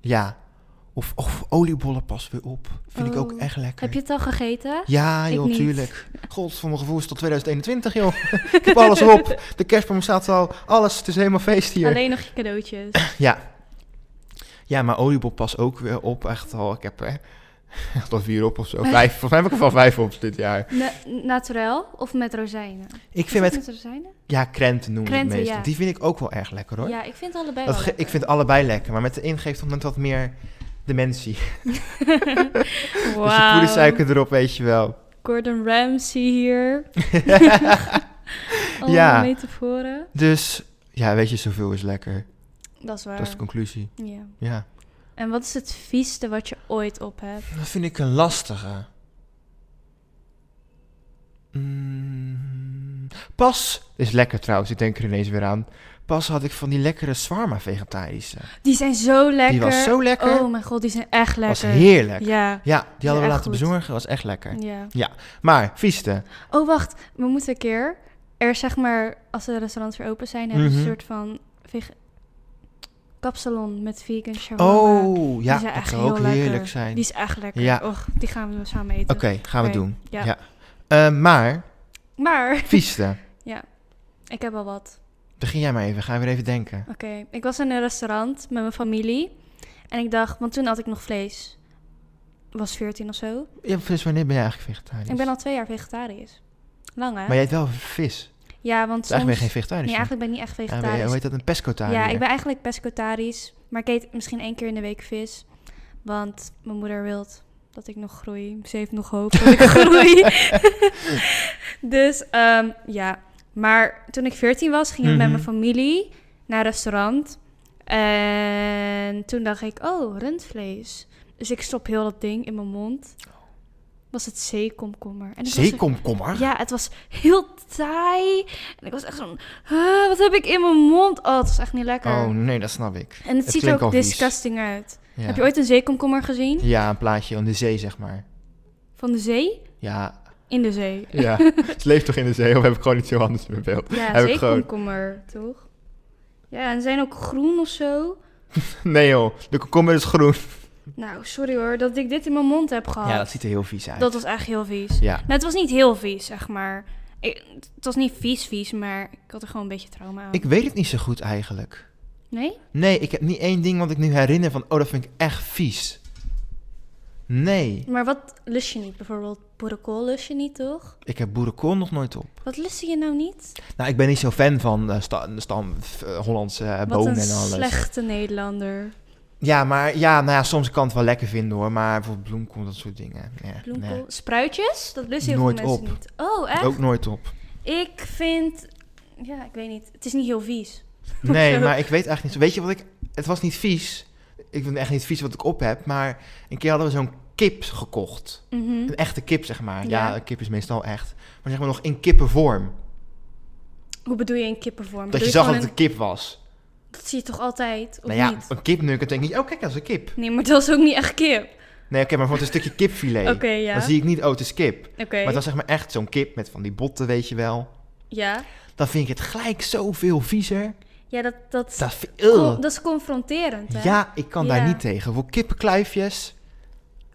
Speaker 1: Ja. Of, of oliebollen pas weer op. Vind ik ook
Speaker 2: Oh.
Speaker 1: echt lekker.
Speaker 2: Heb je het al gegeten?
Speaker 1: Ja,
Speaker 2: Ik
Speaker 1: joh,
Speaker 2: niet.
Speaker 1: tuurlijk. God, voor mijn gevoel is het tot 2021, joh. [laughs] ik heb alles erop. De kerstboom staat al. Alles. Het is helemaal feest hier.
Speaker 2: Alleen nog je
Speaker 1: [laughs]
Speaker 2: cadeautjes.
Speaker 1: Ja. Ja, maar oliebol pas ook weer op. Echt al. Ik heb er [laughs] echt al vier op of zo. Vijf. [laughs] Volgens mij heb ik er van vijf op dit jaar.
Speaker 2: Na- naturel of met rozijnen?
Speaker 1: Ik
Speaker 2: Is
Speaker 1: vind
Speaker 2: het
Speaker 1: met...
Speaker 2: rozijnen?
Speaker 1: Ja, krenten noemen we het
Speaker 2: Krenten,
Speaker 1: meestal.
Speaker 2: ja.
Speaker 1: Die vind ik ook wel erg lekker, hoor.
Speaker 2: Ja, ik vind het allebei
Speaker 1: Dat
Speaker 2: wel
Speaker 1: ge- ik
Speaker 2: Oh, lekker.
Speaker 1: [laughs]
Speaker 2: [laughs]
Speaker 1: vind allebei lekker, maar met de een geeft het net wat meer [laughs] dementie. Dus je
Speaker 2: Wauw.
Speaker 1: poedersuiker erop, weet je wel. [laughs]
Speaker 2: Gordon Ramsay hier. Allemaal
Speaker 1: Ja.
Speaker 2: metaforen.
Speaker 1: Dus ja, weet je, zoveel is lekker.
Speaker 2: Dat is waar.
Speaker 1: Dat is de conclusie.
Speaker 2: ja.
Speaker 1: Ja.
Speaker 2: En wat is het vieste wat je ooit op hebt?
Speaker 1: Dat vind ik een lastige. Mm, pas is lekker trouwens, ik denk er ineens weer aan. Pas had ik van die lekkere zwarma vegetarische.
Speaker 2: Die zijn zo lekker.
Speaker 1: Die was zo lekker.
Speaker 2: Oh mijn god, die zijn echt lekker.
Speaker 1: was heerlijk. Ja,
Speaker 2: Ja.
Speaker 1: die hadden we
Speaker 2: echt
Speaker 1: laten
Speaker 2: goed.
Speaker 1: bezorgen, was echt lekker.
Speaker 2: ja.
Speaker 1: Maar, vieste.
Speaker 2: Oh, wacht. We moeten een keer... Er is zeg maar, als de restaurants weer open zijn, hebben ze
Speaker 1: Mhm.
Speaker 2: een soort van... vege- kapsalon met vegan shawarma.
Speaker 1: Oh, ja,
Speaker 2: die zijn
Speaker 1: dat
Speaker 2: echt
Speaker 1: zou
Speaker 2: heel
Speaker 1: ook
Speaker 2: lekker.
Speaker 1: heerlijk zijn.
Speaker 2: Die is echt lekker.
Speaker 1: Ja.
Speaker 2: Och, die gaan we samen eten.
Speaker 1: Oké, gaan we
Speaker 2: Oké,
Speaker 1: doen. Ja.
Speaker 2: ja.
Speaker 1: Eh, maar,
Speaker 2: Maar
Speaker 1: vieste.
Speaker 2: ik heb al wat.
Speaker 1: Begin jij maar even, ga weer even denken.
Speaker 2: Oké, ik was in een restaurant met mijn familie. En ik dacht, want toen had ik nog vlees. Was 14 of zo.
Speaker 1: Ja, vis, wanneer ben jij eigenlijk vegetarisch?
Speaker 2: Ik ben al twee jaar vegetarisch. Lang hè?
Speaker 1: Maar jij eet wel vis.
Speaker 2: Ja,
Speaker 1: Dus
Speaker 2: want soms...
Speaker 1: eigenlijk ben je geen vegetarisch.
Speaker 2: Nee,
Speaker 1: meer.
Speaker 2: eigenlijk ben ik niet
Speaker 1: Ja,
Speaker 2: echt
Speaker 1: ben je-
Speaker 2: vegetarisch.
Speaker 1: hoe heet dat? Een pescotariër?
Speaker 2: Ja, ik ben eigenlijk pescotarisch, maar ik eet misschien één keer in de week vis. Want mijn moeder wil dat ik nog groei. Ze heeft nog hoop
Speaker 1: [laughs]
Speaker 2: dat ik groei. [laughs] dus ehm, ja. Maar toen ik 14 was, ging ik met
Speaker 1: Mhm.
Speaker 2: mijn familie naar een restaurant. En toen dacht ik, oh, rundvlees. Dus ik stop heel dat ding in mijn mond. Was het zeekomkommer. En ik was er-
Speaker 1: Zeekomkommer?
Speaker 2: ja, het was heel taai. En ik was echt zo'n... "Huh, wat heb ik in mijn mond? Oh, het was echt niet lekker.
Speaker 1: Oh nee, dat snap ik.
Speaker 2: en
Speaker 1: het
Speaker 2: het, ziet er
Speaker 1: klinkt
Speaker 2: ook
Speaker 1: al vies.
Speaker 2: disgusting uit.
Speaker 1: Ja.
Speaker 2: Heb je ooit een zeekomkommer gezien?
Speaker 1: Ja, een plaatje aan de zee, zeg maar.
Speaker 2: Van de zee?
Speaker 1: Ja,
Speaker 2: In de zee. [laughs]
Speaker 1: ja. het leeft toch in de zee? Of heb ik gewoon iets heel anders in mijn beeld?
Speaker 2: Ja,
Speaker 1: Heb ik gewoon-
Speaker 2: zeekomkommer, toch? Ja, en ze zijn ook groen of zo.
Speaker 1: Nee joh, de komkommer is groen.
Speaker 2: Nou, sorry hoor, dat ik dit in mijn mond heb gehad.
Speaker 1: Ja, dat ziet er heel vies uit.
Speaker 2: Oh. Dat was echt heel vies.
Speaker 1: Ja.
Speaker 2: Nou, het was niet heel vies, zeg maar. Ik- het was niet vies vies, maar ik had er gewoon een beetje trauma aan.
Speaker 1: Ik weet het niet zo goed eigenlijk.
Speaker 2: Nee?
Speaker 1: Nee, ik heb niet één ding wat ik nu herinner van, oh, dat vind ik echt vies. Nee,
Speaker 2: Maar wat lust je niet? Bijvoorbeeld boerenkool lust je niet, toch?
Speaker 1: ik heb boerenkool nog nooit op.
Speaker 2: Wat lust je nou niet?
Speaker 1: Nou, ik ben niet zo'n fan van eh, sta- stam, f- eh, Hollandse eh,
Speaker 2: Wat
Speaker 1: bonen
Speaker 2: een
Speaker 1: en alles.
Speaker 2: slechte Nederlander.
Speaker 1: Ja, maar ja, nou ja, soms kan het wel lekker vinden hoor. Maar bijvoorbeeld bloemkool, dat soort dingen. Ja,
Speaker 2: Bloemkool.
Speaker 1: nee.
Speaker 2: Spruitjes? Dat lusten heel
Speaker 1: Nooit
Speaker 2: veel mensen
Speaker 1: op.
Speaker 2: niet. Oh, echt?
Speaker 1: Ook nooit op.
Speaker 2: Ik vind... Ja, ik weet niet. Het is niet heel vies.
Speaker 1: Nee,
Speaker 2: [laughs] Zo.
Speaker 1: maar ik weet eigenlijk niet. zo- Weet je wat ik. Het was niet vies. Ik vind het echt niet vies wat ik op heb. Maar een keer hadden we zo'n kip gekocht.
Speaker 2: Mhm.
Speaker 1: Een echte kip, zeg maar. Ja,
Speaker 2: Ja.
Speaker 1: een kip is meestal echt. Maar zeg maar nog in kippenvorm.
Speaker 2: Hoe bedoel je in kippenvorm?
Speaker 1: Dat
Speaker 2: Bedoel
Speaker 1: je zag dat
Speaker 2: gewoon
Speaker 1: het een kip was.
Speaker 2: een- Dat zie je toch altijd, of
Speaker 1: nou ja,
Speaker 2: niet?
Speaker 1: een kipnugget denk ik. Oh, kijk, dat is een kip.
Speaker 2: Nee, maar dat is ook niet echt kip.
Speaker 1: Nee, oké, maar voor een stukje kipfilet.
Speaker 2: Oké, ja.
Speaker 1: Dan zie ik niet, oh, het is kip.
Speaker 2: Oké,
Speaker 1: Maar het was zeg maar echt zo'n kip met van die botten, weet je wel.
Speaker 2: ja.
Speaker 1: Dan vind ik het gelijk zoveel viezer.
Speaker 2: Ja, dat, dat,
Speaker 1: Dat vind
Speaker 2: con- dat is confronterend, hè?
Speaker 1: Ja, ik kan daar
Speaker 2: Ja.
Speaker 1: niet tegen. Voor kippenkluifjes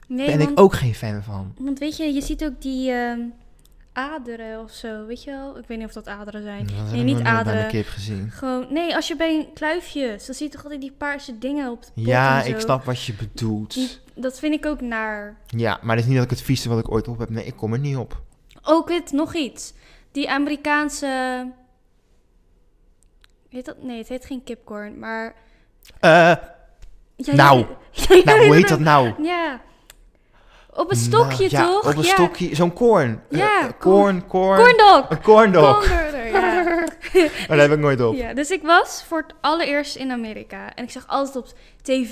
Speaker 2: nee,
Speaker 1: ben
Speaker 2: want,
Speaker 1: ik ook geen fan van.
Speaker 2: Want weet je, je ziet ook die ehm, aderen of zo, weet je wel? Ik weet niet of dat aderen zijn.
Speaker 1: Dat heb
Speaker 2: nee,
Speaker 1: ik
Speaker 2: niet
Speaker 1: nog nooit bij
Speaker 2: aderen.
Speaker 1: een kip gezien.
Speaker 2: Gewoon, nee, als je bij een kluifjes, dan zie je toch altijd die paarse dingen op de pot
Speaker 1: Ja,
Speaker 2: en zo.
Speaker 1: ik snap wat je bedoelt.
Speaker 2: Die- dat vind ik ook naar.
Speaker 1: Ja, maar het is niet dat ik het vieste wat ik ooit op heb. Nee, ik kom er niet op.
Speaker 2: Ook dit, Oh, nog iets. Die Amerikaanse... Heet dat? Nee, het heet geen kipcorn, maar...
Speaker 1: Eh,
Speaker 2: Ja,
Speaker 1: Nou.
Speaker 2: [laughs] ja, ja,
Speaker 1: nou,
Speaker 2: ja,
Speaker 1: hoe heet
Speaker 2: ja.
Speaker 1: dat nou?
Speaker 2: Ja. Op een
Speaker 1: Nou,
Speaker 2: stokje,
Speaker 1: ja,
Speaker 2: toch?
Speaker 1: op een
Speaker 2: ja.
Speaker 1: stokje. Zo'n korn. Eh,
Speaker 2: Ja,
Speaker 1: eh, korn, korn.
Speaker 2: Corndog.
Speaker 1: Een corndog.
Speaker 2: Corndog, ja.
Speaker 1: Maar Oh, daar heb ik nooit op.
Speaker 2: ja. Dus ik was voor het allereerst in Amerika. En ik zag alles op tv.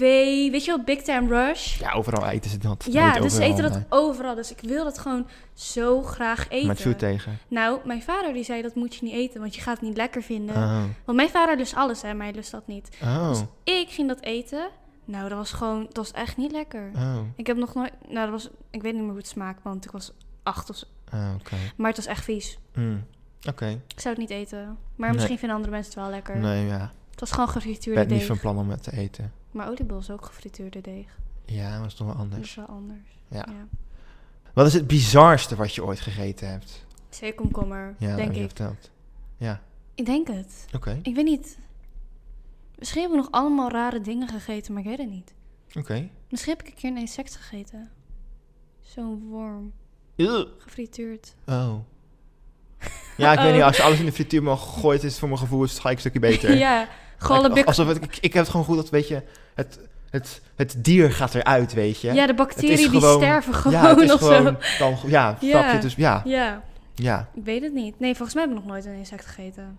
Speaker 2: Weet je wel, Big Time Rush?
Speaker 1: Ja, overal eten ze dat.
Speaker 2: Ja,
Speaker 1: Niet
Speaker 2: dus ze
Speaker 1: overal,
Speaker 2: eten dat
Speaker 1: nee.
Speaker 2: overal. Dus ik wil dat gewoon zo graag eten.
Speaker 1: Maar het viel tegen.
Speaker 2: Nou, mijn vader die zei, dat moet je niet eten, want je gaat het niet lekker vinden.
Speaker 1: Oh.
Speaker 2: Want mijn vader lust alles, hè. Mij lust dat niet.
Speaker 1: Oh.
Speaker 2: Ik ging dat eten. Nou, dat was gewoon... Dat was echt niet lekker.
Speaker 1: Oh.
Speaker 2: Ik heb nog nooit... Nou, dat was... Ik weet niet meer hoe het smaakt, want ik was acht of zo.
Speaker 1: Oh, oké.
Speaker 2: Maar het was echt vies.
Speaker 1: Mm. Oké.
Speaker 2: Ik zou het niet eten. Maar
Speaker 1: Nee.
Speaker 2: misschien vinden andere mensen het wel lekker.
Speaker 1: Nee, ja.
Speaker 2: Het was gewoon
Speaker 1: Ik
Speaker 2: gefrituurde
Speaker 1: ben niet
Speaker 2: deeg.
Speaker 1: van plan om het te eten.
Speaker 2: Maar oliebol is ook gefrituurde deeg.
Speaker 1: Ja, maar dat is toch wel
Speaker 2: Dat
Speaker 1: anders.
Speaker 2: is wel anders.
Speaker 1: Ja.
Speaker 2: ja.
Speaker 1: Wat is het bizarste wat je ooit gegeten hebt?
Speaker 2: Zeekomkommer,
Speaker 1: Ja, dat
Speaker 2: denk
Speaker 1: heb je
Speaker 2: ik.
Speaker 1: verteld. Ja,
Speaker 2: Ik denk het.
Speaker 1: oké.
Speaker 2: Ik weet niet. Misschien hebben we nog allemaal rare dingen gegeten, maar ik weet het niet.
Speaker 1: Oké.
Speaker 2: Misschien heb ik een keer een insect gegeten. Zo'n worm.
Speaker 1: Ugh.
Speaker 2: Gefrituurd.
Speaker 1: Oh.
Speaker 2: [laughs]
Speaker 1: Ja, ik weet
Speaker 2: Oh.
Speaker 1: niet. Als je alles in de frituur mag gooien, is het voor mijn gevoel is het gelijk een stukje beter.
Speaker 2: [laughs] ja, gewoon een
Speaker 1: Als-
Speaker 2: bik-
Speaker 1: Alsof het, ik, ik heb het gewoon goed dat, weet je, het, het, het dier gaat eruit, weet je.
Speaker 2: Ja, de
Speaker 1: Het
Speaker 2: bacteriën
Speaker 1: is
Speaker 2: die
Speaker 1: gewoon-
Speaker 2: sterven gewoon
Speaker 1: ja, het is
Speaker 2: of
Speaker 1: gewoon
Speaker 2: zo.
Speaker 1: dan, ja,
Speaker 2: Ja.
Speaker 1: snap je? Dus ja,
Speaker 2: Ja,
Speaker 1: ja.
Speaker 2: ik weet het niet. Nee, volgens mij heb ik nog nooit een insect gegeten.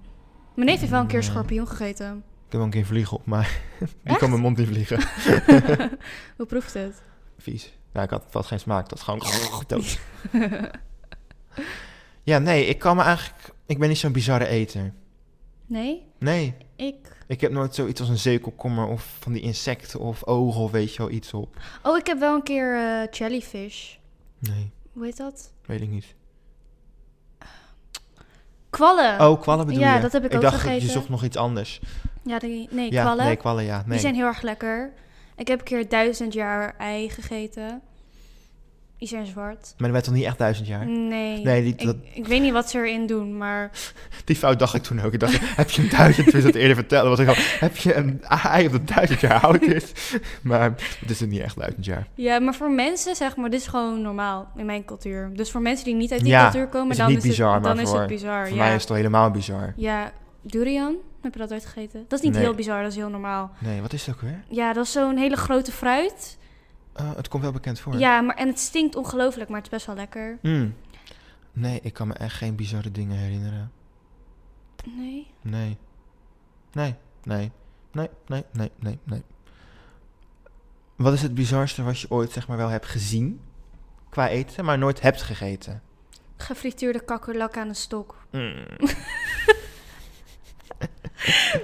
Speaker 2: Mijn neef heeft wel een keer
Speaker 1: Nee. [laughs]
Speaker 2: schorpioen gegeten.
Speaker 1: Ik heb wel een keer vliegen op, maar die
Speaker 2: Echt?
Speaker 1: kan mijn [laughs] mond niet vliegen. [laughs]
Speaker 2: Hoe proeft het?
Speaker 1: Vies. Nou, ik had, het had geen smaak. Dat is gewoon [laughs]
Speaker 2: [laughs]
Speaker 1: dood. ja, nee, ik kan me eigenlijk... Ik ben niet zo'n bizarre eter.
Speaker 2: Nee,
Speaker 1: Nee,
Speaker 2: ik...
Speaker 1: ik heb nooit zoiets als een zeekomkommer of van die insecten of ogen of weet je wel iets op.
Speaker 2: Oh, ik heb wel een keer eh, jellyfish.
Speaker 1: Nee,
Speaker 2: Hoe heet dat?
Speaker 1: weet ik niet.
Speaker 2: Kwallen.
Speaker 1: Oh, kwallen bedoel
Speaker 2: ja,
Speaker 1: je?
Speaker 2: dat heb ik ook
Speaker 1: dacht,
Speaker 2: gegeten.
Speaker 1: je zocht nog iets anders.
Speaker 2: Ja, die, nee,
Speaker 1: ja,
Speaker 2: kwallen.
Speaker 1: nee, kwallen, ja.
Speaker 2: Die
Speaker 1: Nee.
Speaker 2: zijn heel erg lekker. Ik heb een keer duizend jaar ei gegeten. Die zijn zwart.
Speaker 1: Maar dat werd toch niet echt duizend jaar?
Speaker 2: Nee,
Speaker 1: Nee, die- dat-
Speaker 2: ik, ik weet niet wat ze erin doen, maar...
Speaker 1: Die fout dacht ik toen ook. Ik dacht, [laughs] heb je een duizend? Toen is dat eerder vertellen. Was ik al, heb je een ei dat duizend jaar oud is? [laughs] maar het is niet echt duizend jaar.
Speaker 2: Ja, maar voor mensen, zeg maar, dit is gewoon normaal in mijn cultuur. Dus voor mensen die niet uit die
Speaker 1: Ja,
Speaker 2: cultuur komen,
Speaker 1: is het
Speaker 2: dan,
Speaker 1: niet
Speaker 2: is,
Speaker 1: bizar,
Speaker 2: het,
Speaker 1: maar
Speaker 2: dan is het bizar.
Speaker 1: Voor
Speaker 2: ja.
Speaker 1: mij is het al helemaal bizar.
Speaker 2: ja, durian, heb je dat ooit gegeten? Dat is niet
Speaker 1: Nee.
Speaker 2: heel bizar, dat is heel normaal.
Speaker 1: Nee, wat is het ook weer?
Speaker 2: Ja, dat is zo'n hele grote fruit.
Speaker 1: Eh, het komt wel bekend voor.
Speaker 2: Ja, maar, en het stinkt ongelooflijk, maar het is best wel lekker.
Speaker 1: Mm. Nee, ik kan me echt geen bizarre dingen herinneren.
Speaker 2: Nee.
Speaker 1: Nee. Nee, nee. Nee, nee, nee, nee, nee. Wat is het bizarste wat je ooit zeg maar wel hebt gezien qua eten, maar nooit hebt gegeten?
Speaker 2: Gefrituurde kakkerlak aan een stok.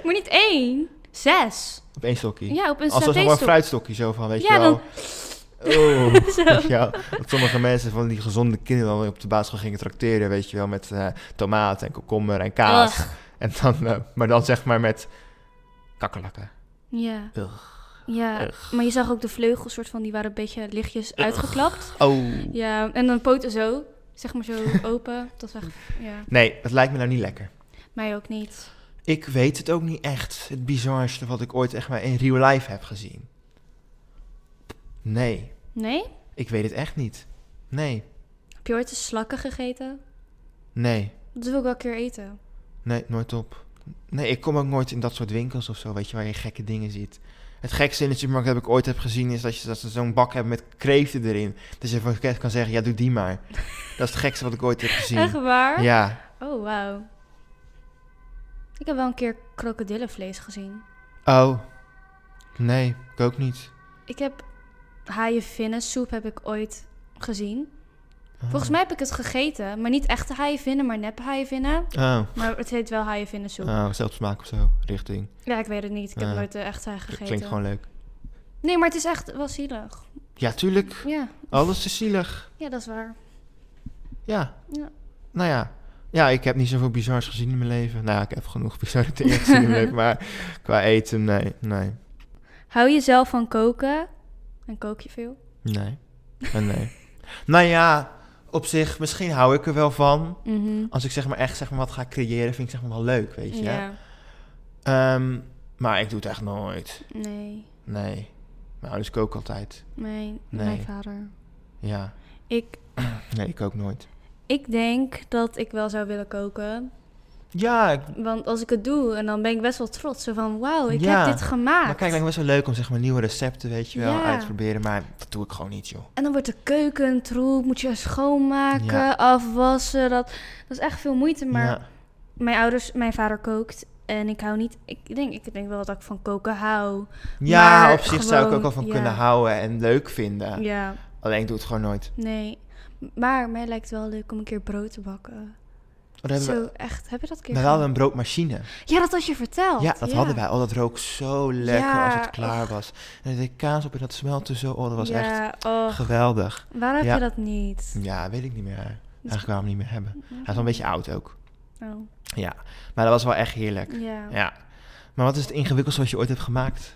Speaker 2: Maar niet één, zes.
Speaker 1: Op één stokje.
Speaker 2: Ja, op een
Speaker 1: Als dat nog maar
Speaker 2: satéstokje.
Speaker 1: fruitstokje zo van, weet
Speaker 2: Ja,
Speaker 1: je wel.
Speaker 2: dan- [laughs]
Speaker 1: Oh,
Speaker 2: Zo.
Speaker 1: weet je wel, dat sommige mensen van die gezonde kinderen dan op de basisschool gingen tracteren, weet je wel, met eh tomaat en komkommer en kaas.
Speaker 2: Ugh.
Speaker 1: En dan, eh, maar dan zeg maar met kakkerlakken.
Speaker 2: Ja.
Speaker 1: Ugh.
Speaker 2: Ja, maar je zag ook de vleugels, soort van, die waren een beetje lichtjes uitgeklapt.
Speaker 1: Oh.
Speaker 2: Ja, en dan poten zo, zeg maar
Speaker 1: [laughs]
Speaker 2: zo open. Dat was echt, ja,
Speaker 1: Nee, dat lijkt me nou niet lekker.
Speaker 2: mij ook niet.
Speaker 1: Ik weet het ook niet echt. Het bizarste wat ik ooit echt maar in real life heb gezien. Nee,
Speaker 2: Nee?
Speaker 1: ik weet het echt niet. Nee,
Speaker 2: Heb je ooit eens slakken gegeten?
Speaker 1: nee,
Speaker 2: Dat wil ik wel een keer eten.
Speaker 1: nee, nooit op. Nee, ik kom ook nooit in dat soort winkels of zo, weet je, waar je gekke dingen ziet. Het gekste in de supermarkt dat ik ooit heb gezien is dat, je, dat ze zo'n bak hebben met kreeften erin. Dat je van kan zeggen, ja, doe die
Speaker 2: [laughs]
Speaker 1: maar. Dat is het gekste wat ik ooit heb gezien.
Speaker 2: Echt waar?
Speaker 1: Ja.
Speaker 2: Oh, wauw. Ik heb wel een keer krokodillenvlees gezien.
Speaker 1: Oh. Nee, ik ook niet.
Speaker 2: Ik heb haaienvinnensoep heb ik ooit gezien.
Speaker 1: Oh.
Speaker 2: Volgens mij heb ik het gegeten, maar niet echte haaienvinnen, maar nep haaienvinnen.
Speaker 1: Oh.
Speaker 2: Maar het heet wel haaienvinnensoep.
Speaker 1: Oh, zelfsmaak of zo, richting.
Speaker 2: Ja, ik weet het niet. Ik heb
Speaker 1: Ah.
Speaker 2: nooit de echte haai gegeten.
Speaker 1: Klinkt gewoon leuk.
Speaker 2: Nee, maar het is echt wel zielig.
Speaker 1: Ja, tuurlijk.
Speaker 2: Ja,
Speaker 1: Alles is zielig.
Speaker 2: ja dat is waar.
Speaker 1: Ja.
Speaker 2: Ja.
Speaker 1: Nou ja. Ja, ik heb niet zoveel bizars gezien in mijn leven. Nou, ja, ik heb genoeg bizarre [laughs] dingen gezien in mijn leven. Maar qua eten, nee, nee,
Speaker 2: Hou jezelf van koken. En kook je veel?
Speaker 1: nee. En nee.
Speaker 2: [laughs]
Speaker 1: nou ja, op zich, misschien hou ik er wel van.
Speaker 2: Mhm.
Speaker 1: Als ik zeg maar echt zeg maar, wat ga creëren, vind ik zeg maar wel leuk, weet je.
Speaker 2: Ja,
Speaker 1: Ehm, maar ik doe het echt nooit.
Speaker 2: nee.
Speaker 1: Nee. Mijn ouders koken altijd.
Speaker 2: Mijn,
Speaker 1: Nee.
Speaker 2: mijn vader.
Speaker 1: Ja.
Speaker 2: Ik,
Speaker 1: Nee, ik ook nooit.
Speaker 2: ik denk dat ik wel zou willen koken.
Speaker 1: Ja, ik-
Speaker 2: Want als ik het doe, en dan ben ik best wel trots. Zo van, wauw, ik
Speaker 1: Ja,
Speaker 2: heb dit
Speaker 1: maar
Speaker 2: gemaakt.
Speaker 1: kijk, lijkt me best wel leuk om zeg maar nieuwe recepten, weet je wel,
Speaker 2: Ja.
Speaker 1: uit te proberen. Maar dat doe ik gewoon niet, joh.
Speaker 2: En dan wordt de keuken troep, moet je schoonmaken,
Speaker 1: Ja.
Speaker 2: afwassen. Dat, dat is echt veel moeite. Maar
Speaker 1: Ja.
Speaker 2: mijn ouders, mijn vader kookt. En ik hou niet, ik denk, ik denk wel dat ik van koken hou.
Speaker 1: Ja,
Speaker 2: Maar
Speaker 1: op zich zou ik ook
Speaker 2: gewoon,
Speaker 1: wel van
Speaker 2: ja.
Speaker 1: kunnen houden en leuk vinden.
Speaker 2: ja.
Speaker 1: Alleen ik doe het gewoon nooit.
Speaker 2: Nee, maar mij lijkt het wel leuk om een keer brood te bakken.
Speaker 1: Maar we,
Speaker 2: Zo,
Speaker 1: hebben
Speaker 2: echt. Heb je dat een
Speaker 1: we,
Speaker 2: keer
Speaker 1: maar we hadden
Speaker 2: gedaan?
Speaker 1: een broodmachine.
Speaker 2: Ja, dat had je verteld.
Speaker 1: ja, dat hadden wij. Oh, dat rook zo lekker als
Speaker 2: Ja,
Speaker 1: het klaar was. En er deed kaas op en dat smelte zo. Oh, dat was echt
Speaker 2: ja, och,
Speaker 1: geweldig.
Speaker 2: waarom heb
Speaker 1: Ja.
Speaker 2: je dat niet?
Speaker 1: Ja, weet ik niet meer. Eigenlijk wou ik hem niet meer hebben. Hij is wel een beetje oud ook.
Speaker 2: Oh,
Speaker 1: Ja, maar dat was wel echt heerlijk.
Speaker 2: ja.
Speaker 1: Ja. Maar wat is het ingewikkeldste wat je ooit hebt gemaakt?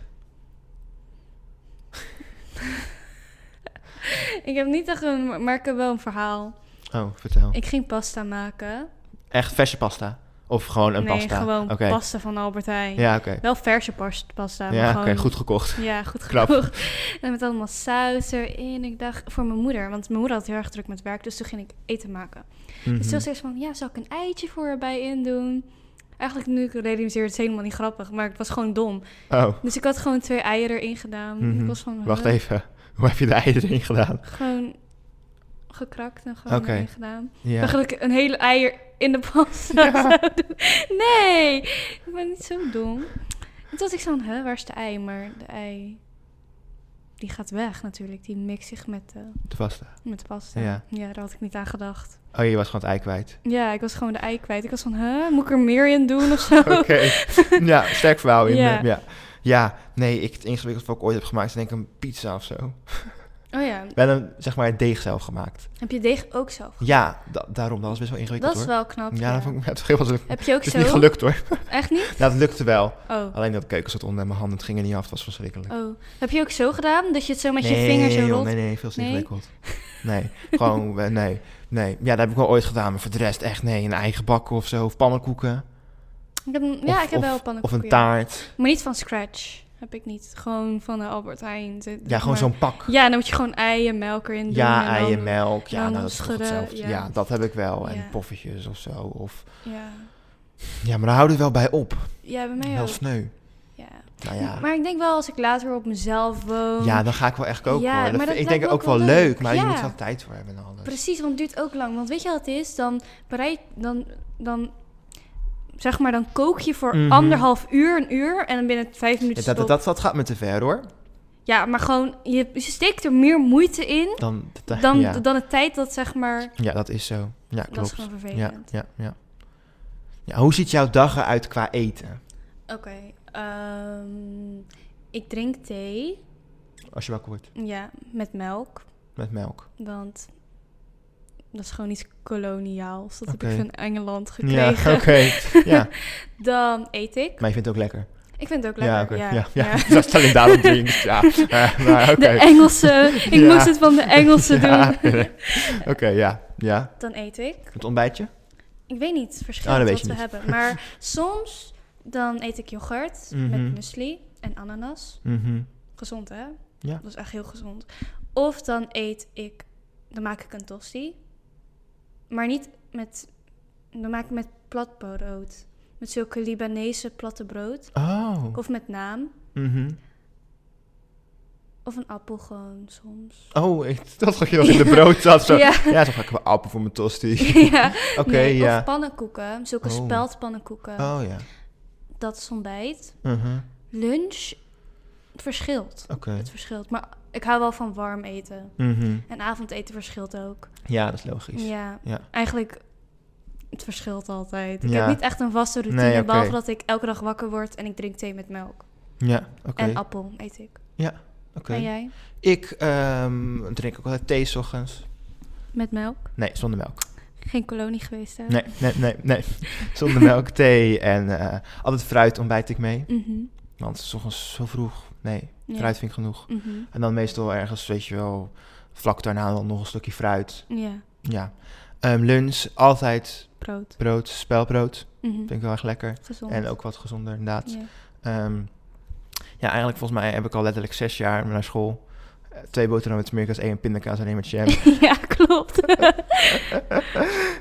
Speaker 2: Ik heb niet echt een, maar ik heb wel een verhaal.
Speaker 1: Oh, vertel.
Speaker 2: Ik ging pasta maken.
Speaker 1: Echt verse pasta? Of gewoon een
Speaker 2: nee,
Speaker 1: pasta?
Speaker 2: gewoon
Speaker 1: Oké.
Speaker 2: pasta van Albert Heijn.
Speaker 1: Ja, oké.
Speaker 2: Wel verse pas- pasta. maar
Speaker 1: Ja, oké.
Speaker 2: gewoon,
Speaker 1: Goed gekocht.
Speaker 2: Ja, goed
Speaker 1: Knap.
Speaker 2: genoeg. En met allemaal saus erin. Ik dacht, voor mijn moeder. Want mijn moeder had heel erg druk met werk. Dus toen ging ik eten maken.
Speaker 1: Mhm.
Speaker 2: Dus toen was eerst van, ja, zal ik een eitje voor erbij in doen? Eigenlijk nu ik het realiseer, het is helemaal niet grappig, maar het was gewoon dom.
Speaker 1: Oh.
Speaker 2: Dus ik had gewoon twee eieren erin gedaan.
Speaker 1: Mhm.
Speaker 2: Ik was van,
Speaker 1: Wacht
Speaker 2: huh?
Speaker 1: even, [laughs] hoe heb je de ei erin gedaan?
Speaker 2: Gewoon gekrakt en gewoon
Speaker 1: Oké.
Speaker 2: erin gedaan.
Speaker 1: Ja.
Speaker 2: Eigenlijk een hele eier in de pasta [laughs] zou doen. Nee, ik ben niet zo dom. En toen was ik zo van, huh, waar is de ei? Maar de ei, die gaat weg natuurlijk. Die mixt zich met de,
Speaker 1: De pasta.
Speaker 2: met de pasta.
Speaker 1: Ja.
Speaker 2: ja, daar had ik niet aan gedacht.
Speaker 1: Oh, je was gewoon het ei
Speaker 2: [laughs]
Speaker 1: kwijt.
Speaker 2: Ja, ik was gewoon de ei kwijt. Ik was van, huh, moet ik er meer in doen of zo?
Speaker 1: [laughs] Oké.
Speaker 2: [laughs]
Speaker 1: ja, sterk verhaal. In
Speaker 2: Ja.
Speaker 1: ja. ja. ja, nee, ik, het ingewikkeldste wat ik ooit heb gemaakt is denk ik een pizza of zo.
Speaker 2: Oh ja,
Speaker 1: Wel een, zeg maar, het deeg zelf gemaakt.
Speaker 2: heb je deeg ook zelf?
Speaker 1: Ja, da- daarom, dat was best wel ingewikkeld
Speaker 2: Dat is
Speaker 1: hoor.
Speaker 2: wel knap.
Speaker 1: ja, dat vond ik, ja, het, was, het
Speaker 2: Heb je ook
Speaker 1: is
Speaker 2: zo?
Speaker 1: niet gelukt hoor.
Speaker 2: Echt niet?
Speaker 1: Nou, het lukte wel.
Speaker 2: Oh.
Speaker 1: Alleen dat keuken zat onder mijn handen, het ging er niet af, het was verschrikkelijk.
Speaker 2: oh. Heb je ook zo gedaan? Dat je het zo met
Speaker 1: nee,
Speaker 2: je vinger zo
Speaker 1: joh,
Speaker 2: rolt?
Speaker 1: Nee, nee, veel te
Speaker 2: Nee?
Speaker 1: ingewikkeld. Nee, gewoon, eh, nee, nee. Ja, dat heb ik wel ooit gedaan, maar voor de rest echt nee. Een eigen bakken of zo, of pannenkoeken.
Speaker 2: Ik heb, ja,
Speaker 1: Of-
Speaker 2: ik heb wel
Speaker 1: Of
Speaker 2: pannenkoeken.
Speaker 1: een
Speaker 2: ja.
Speaker 1: taart.
Speaker 2: Maar niet van scratch. Heb ik niet. Gewoon van de Albert Heijn. Ze-
Speaker 1: Ja, gewoon
Speaker 2: maar-
Speaker 1: zo'n pak.
Speaker 2: Ja, dan moet je gewoon ei en melk erin doen.
Speaker 1: Ja,
Speaker 2: en
Speaker 1: ei
Speaker 2: dan-
Speaker 1: en melk. Ja,
Speaker 2: dan
Speaker 1: nou, dat is toch
Speaker 2: schudden,
Speaker 1: hetzelfde.
Speaker 2: ja.
Speaker 1: Ja. dat heb ik wel. En
Speaker 2: Ja.
Speaker 1: poffertjes of zo. Of...
Speaker 2: Ja.
Speaker 1: Ja, maar daar houden we wel bij op.
Speaker 2: ja, bij mij
Speaker 1: Wel
Speaker 2: ook.
Speaker 1: sneu.
Speaker 2: Ja.
Speaker 1: Nou ja.
Speaker 2: Maar ik denk wel als ik later op mezelf woon.
Speaker 1: ja, dan ga ik wel echt koken
Speaker 2: Ja,
Speaker 1: hoor. Dat
Speaker 2: maar
Speaker 1: vind-
Speaker 2: dat
Speaker 1: ik denk
Speaker 2: lijkt me
Speaker 1: ook wel leuk, maar je
Speaker 2: ja.
Speaker 1: moet er wel tijd voor hebben en alles.
Speaker 2: Precies, want het duurt ook lang. Want weet je wat het is? Dan bereid, dan, dan zeg maar, dan kook je voor
Speaker 1: Mhm.
Speaker 2: anderhalf uur, een uur en dan binnen vijf
Speaker 1: Ja,
Speaker 2: minuten.
Speaker 1: dat, dat,
Speaker 2: stop.
Speaker 1: dat, dat gaat me te ver hoor.
Speaker 2: ja maar gewoon, je, je steekt er meer moeite
Speaker 1: [laughs]
Speaker 2: in
Speaker 1: Dan, dat-
Speaker 2: dan,
Speaker 1: ja.
Speaker 2: dan het tijd dat zeg maar.
Speaker 1: ja, dat is zo. Ja,
Speaker 2: Dat is
Speaker 1: klopt.
Speaker 2: gewoon
Speaker 1: Ja,
Speaker 2: vervelend.
Speaker 1: ja, ja. ja, hoe ziet jouw dag eruit qua eten?
Speaker 2: Oké, ehm, ik drink thee.
Speaker 1: Als je wakker wordt
Speaker 2: Ja, met melk.
Speaker 1: met melk.
Speaker 2: Want dat is gewoon iets koloniaals. Dat
Speaker 1: Oké.
Speaker 2: heb ik van Engeland
Speaker 1: Ja, [laughs]
Speaker 2: gekregen. [laughs]
Speaker 1: oké. Ja,
Speaker 2: Dan eet ik.
Speaker 1: maar je vindt het ook lekker.
Speaker 2: Ik vind het ook
Speaker 1: ja,
Speaker 2: lekker.
Speaker 1: oké.
Speaker 2: Ja,
Speaker 1: Ja, ja.
Speaker 2: ja.
Speaker 1: [laughs] dat is alleen daarom
Speaker 2: [laughs]
Speaker 1: drink. Ja, Eh, maar oké.
Speaker 2: De Engelse. Ik
Speaker 1: Ja.
Speaker 2: moest het van de
Speaker 1: [laughs]
Speaker 2: Engelse
Speaker 1: Ja.
Speaker 2: doen.
Speaker 1: [laughs] Oké, ja. ja.
Speaker 2: Dan eet ik.
Speaker 1: Het ontbijtje?
Speaker 2: Ik weet niet verschil
Speaker 1: Oh, dat
Speaker 2: wat
Speaker 1: weet je
Speaker 2: we
Speaker 1: niet.
Speaker 2: hebben. Maar soms dan eet ik yoghurt
Speaker 1: Mhm.
Speaker 2: met muesli en ananas.
Speaker 1: Mhm.
Speaker 2: Gezond hè?
Speaker 1: Ja.
Speaker 2: Dat is echt heel gezond. Of dan eet ik. Dan maak ik een tosti. Maar niet met. Dan maak ik met plat brood. Met zulke Libanese platte brood.
Speaker 1: Oh.
Speaker 2: Of met naam.
Speaker 1: Mhm.
Speaker 2: Of een appel gewoon soms. [laughs]
Speaker 1: Oh, ik dacht dat je dat in de brood zat. Zo. Ja.
Speaker 2: Ja.
Speaker 1: zo ga ik wel appel voor mijn tosti.
Speaker 2: ja.
Speaker 1: [laughs] Oké,
Speaker 2: Nee,
Speaker 1: ja.
Speaker 2: Of pannenkoeken, zulke
Speaker 1: Oh.
Speaker 2: speldpannenkoeken.
Speaker 1: Oh ja.
Speaker 2: Dat is ontbijt.
Speaker 1: Mhm.
Speaker 2: Lunch, het verschilt.
Speaker 1: Oké.
Speaker 2: Het verschilt. Maar ik hou wel van warm eten.
Speaker 1: Mhm.
Speaker 2: En avondeten verschilt ook.
Speaker 1: Ja, dat is logisch.
Speaker 2: Ja,
Speaker 1: Ja.
Speaker 2: eigenlijk, het verschilt altijd. Ik
Speaker 1: Ja.
Speaker 2: heb niet echt een vaste routine,
Speaker 1: Nee, oké.
Speaker 2: behalve dat ik elke dag wakker word en ik drink thee met melk.
Speaker 1: Ja, oké.
Speaker 2: En appel eet ik.
Speaker 1: Oké.
Speaker 2: En jij?
Speaker 1: Ik ehm, drink ook altijd thee 's ochtends.
Speaker 2: Met melk?
Speaker 1: Nee, zonder melk.
Speaker 2: Geen kolonie geweest, hè?
Speaker 1: Nee, nee, nee, nee. [laughs] Zonder melk, thee en eh, altijd fruit ontbijt ik mee.
Speaker 2: Mhm.
Speaker 1: Want 's ochtends zo vroeg, nee,
Speaker 2: Ja.
Speaker 1: fruit vind ik genoeg.
Speaker 2: Mhm.
Speaker 1: En dan meestal ergens, weet je wel, vlak daarna dan nog een stukje fruit.
Speaker 2: Ja,
Speaker 1: Ja. Ehm, lunch, altijd
Speaker 2: brood.
Speaker 1: brood, spelbrood.
Speaker 2: Mhm.
Speaker 1: Vind ik wel erg lekker.
Speaker 2: Gezond.
Speaker 1: En ook wat gezonder, inderdaad.
Speaker 2: Ja. [laughs]
Speaker 1: Ehm, ja, eigenlijk volgens mij heb ik al letterlijk zes jaar naar school. Eh, Twee boterhammen met smeerkaas, één pindakaas en één met
Speaker 2: [laughs]
Speaker 1: jam.
Speaker 2: ja, klopt.
Speaker 1: [laughs]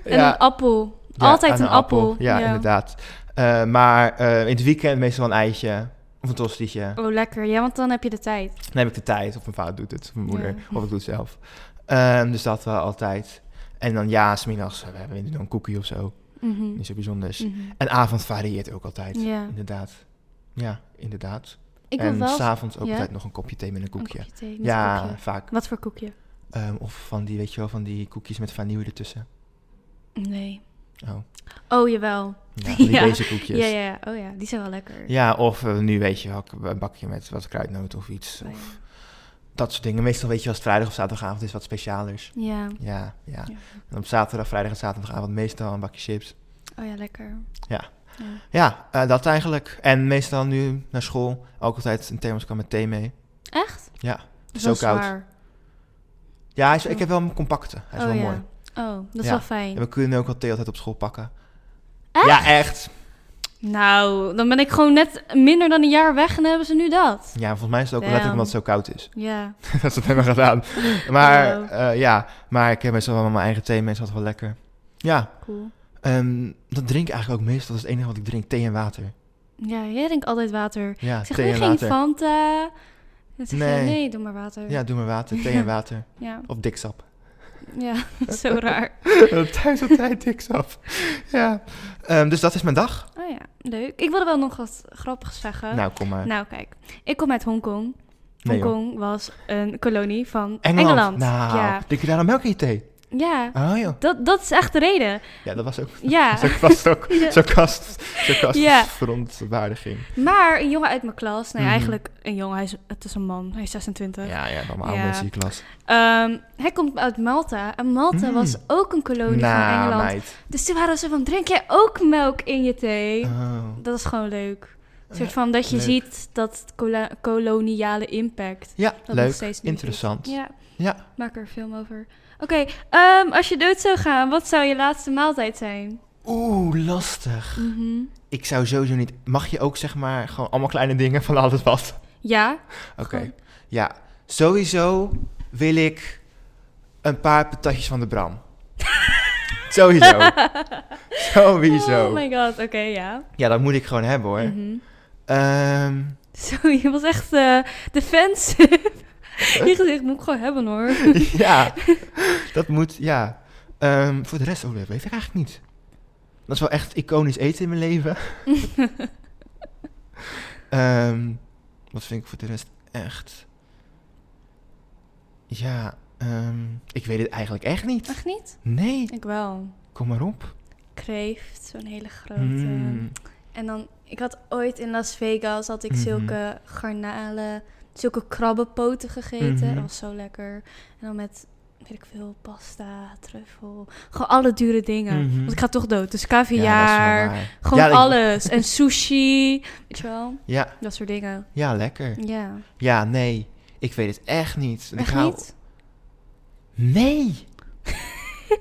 Speaker 2: En een appel.
Speaker 1: Ja,
Speaker 2: Altijd
Speaker 1: aan
Speaker 2: een, appel.
Speaker 1: Ja, inderdaad. Eh, maar eh, in het weekend meestal een eitje of een tostietje.
Speaker 2: Oh, lekker. Ja, want dan heb je de tijd.
Speaker 1: Dan heb ik de tijd. Of mijn vader doet het, of mijn moeder.
Speaker 2: Ja.
Speaker 1: Of ik doe het zelf. Ehm, dus dat wel altijd. En dan ja, smiddags eh, we hebben dan een koekie of zo.
Speaker 2: Mhm.
Speaker 1: Niet zo bijzonders.
Speaker 2: Mhm.
Speaker 1: En avond varieert ook altijd.
Speaker 2: Ja.
Speaker 1: Inderdaad. Ja, inderdaad.
Speaker 2: Ik wil
Speaker 1: en
Speaker 2: wel
Speaker 1: s'avonds ook
Speaker 2: ja?
Speaker 1: altijd nog een kopje thee met een
Speaker 2: een
Speaker 1: koekje.
Speaker 2: thee met
Speaker 1: ja,
Speaker 2: koekje.
Speaker 1: vaak.
Speaker 2: Wat voor koekje?
Speaker 1: Ehm, of van die, weet je wel, van die koekjes met vanille ertussen.
Speaker 2: Nee. [laughs]
Speaker 1: Oh,
Speaker 2: Oh, jawel.
Speaker 1: ja, van die
Speaker 2: Ja.
Speaker 1: deze koekjes.
Speaker 2: Ja, ja, ja. Oh ja, die zijn wel lekker.
Speaker 1: Ja, of eh, nu weet je wel, k- een bakje met wat kruidnoten of iets.
Speaker 2: Oh, ja.
Speaker 1: Of dat soort dingen. Meestal weet je als het vrijdag of zaterdagavond is wat specialers.
Speaker 2: Ja.
Speaker 1: Ja, ja.
Speaker 2: Ja.
Speaker 1: En op zaterdag, vrijdag en zaterdagavond meestal een bakje chips.
Speaker 2: Oh ja, lekker.
Speaker 1: Ja.
Speaker 2: Ja.
Speaker 1: Ja, eh, dat eigenlijk. En meestal nu naar school ook altijd een thermoskan met thee mee.
Speaker 2: Echt?
Speaker 1: Ja,
Speaker 2: Dat is
Speaker 1: zo
Speaker 2: wel
Speaker 1: koud.
Speaker 2: zwaar.
Speaker 1: Ja, hij is, ik heb wel een compacte. Hij is
Speaker 2: oh
Speaker 1: wel
Speaker 2: ja.
Speaker 1: mooi.
Speaker 2: Oh, dat is
Speaker 1: Ja.
Speaker 2: wel
Speaker 1: En
Speaker 2: fijn.
Speaker 1: we kunnen ook wel thee altijd op school pakken.
Speaker 2: Echt?
Speaker 1: Ja, echt.
Speaker 2: Nou, dan ben ik gewoon net minder dan een jaar weg en dan hebben ze nu dat.
Speaker 1: Ja, volgens mij is het ook
Speaker 2: Damn.
Speaker 1: letterlijk omdat het zo koud is. [laughs]
Speaker 2: Ja.
Speaker 1: dat ze het hebben gedaan. Maar
Speaker 2: Oh.
Speaker 1: eh, ja, maar ik heb meestal wel mijn eigen thee. Meestal altijd wel lekker. Ja,
Speaker 2: Cool.
Speaker 1: Ehm, dat drink ik eigenlijk ook meestal. Dat is het enige wat ik drink. Thee en water.
Speaker 2: Ja, jij drinkt altijd water.
Speaker 1: Ja,
Speaker 2: Ik zeg
Speaker 1: thee
Speaker 2: nu
Speaker 1: en
Speaker 2: geen
Speaker 1: water.
Speaker 2: Fanta. Dan zeg je,
Speaker 1: Nee.
Speaker 2: nee. doe maar water.
Speaker 1: Ja, doe maar water. Thee en water.
Speaker 2: ja,
Speaker 1: Of diksap.
Speaker 2: ja. [laughs] zo raar.
Speaker 1: [laughs] Thuis altijd diksap. ja. Ehm, dus dat is mijn dag.
Speaker 2: Oh ja, leuk. Ik wilde wel nog wat grappigs zeggen.
Speaker 1: Nou, kom maar.
Speaker 2: Nou, kijk. Ik kom uit Hongkong.
Speaker 1: Nee, joh.
Speaker 2: Hongkong was een kolonie van
Speaker 1: Engeland.
Speaker 2: Engeland.
Speaker 1: Nou,
Speaker 2: Ja,
Speaker 1: drink je daar dan melk in je thee?
Speaker 2: ja.
Speaker 1: Oh joh.
Speaker 2: Dat, dat is echt de reden.
Speaker 1: Ja, [laughs] dat was ook...
Speaker 2: Ja.
Speaker 1: Zo vast ook.
Speaker 2: Ja.
Speaker 1: Zo kast. Zo kast.
Speaker 2: Ja.
Speaker 1: Verontwaardiging.
Speaker 2: Maar een jongen uit mijn klas, nee,
Speaker 1: Mhm.
Speaker 2: eigenlijk een jongen, hij is, het is een man, hij is 26.
Speaker 1: Ja, ja. Allemaal oude
Speaker 2: Ja.
Speaker 1: mensen in je klas.
Speaker 2: Ehm, hij komt uit Malta en Malta
Speaker 1: Mm.
Speaker 2: was ook een kolonie van
Speaker 1: Nou,
Speaker 2: Engeland.
Speaker 1: meid.
Speaker 2: Dus toen waren ze van, drink jij ook melk in je thee?
Speaker 1: Oh.
Speaker 2: Dat is gewoon leuk. Een soort
Speaker 1: Ja,
Speaker 2: van dat je
Speaker 1: leuk.
Speaker 2: ziet dat het cola- koloniale impact.
Speaker 1: Ja,
Speaker 2: Dat nog
Speaker 1: leuk.
Speaker 2: steeds niet is.
Speaker 1: Interessant.
Speaker 2: Ja.
Speaker 1: Ja.
Speaker 2: Maak er een film over. Oké, ehm, als je dood zou gaan, wat zou je laatste maaltijd zijn?
Speaker 1: Oeh, lastig.
Speaker 2: Mhm.
Speaker 1: Ik zou sowieso niet. Mag je ook zeg maar gewoon allemaal kleine dingen van alles wat?
Speaker 2: Ja.
Speaker 1: Oké.
Speaker 2: Gewoon.
Speaker 1: Ja, sowieso wil ik een paar patatjes van de
Speaker 2: [laughs]
Speaker 1: Bram. sowieso. sowieso.
Speaker 2: Oh Mhm. my god, oké, ja.
Speaker 1: Ja, dat moet ik gewoon hebben hoor.
Speaker 2: Mhm.
Speaker 1: Ehm,
Speaker 2: [laughs]
Speaker 1: [laughs]
Speaker 2: Zo, je was echt eh defensive. je gezicht moet ik gewoon hebben hoor.
Speaker 1: ja, dat moet, ja. Ehm, voor de rest, oh, dat weet ik eigenlijk niet. Dat is wel echt iconisch eten in mijn
Speaker 2: [laughs]
Speaker 1: leven. Ehm, wat vind ik voor de rest echt? Ja, ehm, ik weet het eigenlijk echt niet.
Speaker 2: Mag niet?
Speaker 1: Nee,
Speaker 2: Ik wel.
Speaker 1: kom maar op.
Speaker 2: Kreeft, zo'n hele grote.
Speaker 1: Mm.
Speaker 2: En dan, ik had ooit in Las Vegas, had ik
Speaker 1: Mhm.
Speaker 2: zulke garnalen, zulke krabbenpoten gegeten.
Speaker 1: Mhm.
Speaker 2: Dat was zo lekker. En dan met, weet ik veel, pasta, truffel. Gewoon alle dure dingen.
Speaker 1: Mhm.
Speaker 2: Want ik ga toch dood. Dus
Speaker 1: Ja, dat is wel
Speaker 2: caviar,
Speaker 1: waar.
Speaker 2: gewoon
Speaker 1: Ja, dat-
Speaker 2: alles. En sushi, weet je wel?
Speaker 1: Ja,
Speaker 2: Dat soort dingen.
Speaker 1: ja, lekker.
Speaker 2: Ja.
Speaker 1: Ja, nee, ik weet het echt niet. En ik
Speaker 2: Echt
Speaker 1: hou-
Speaker 2: niet? [laughs]
Speaker 1: Nee.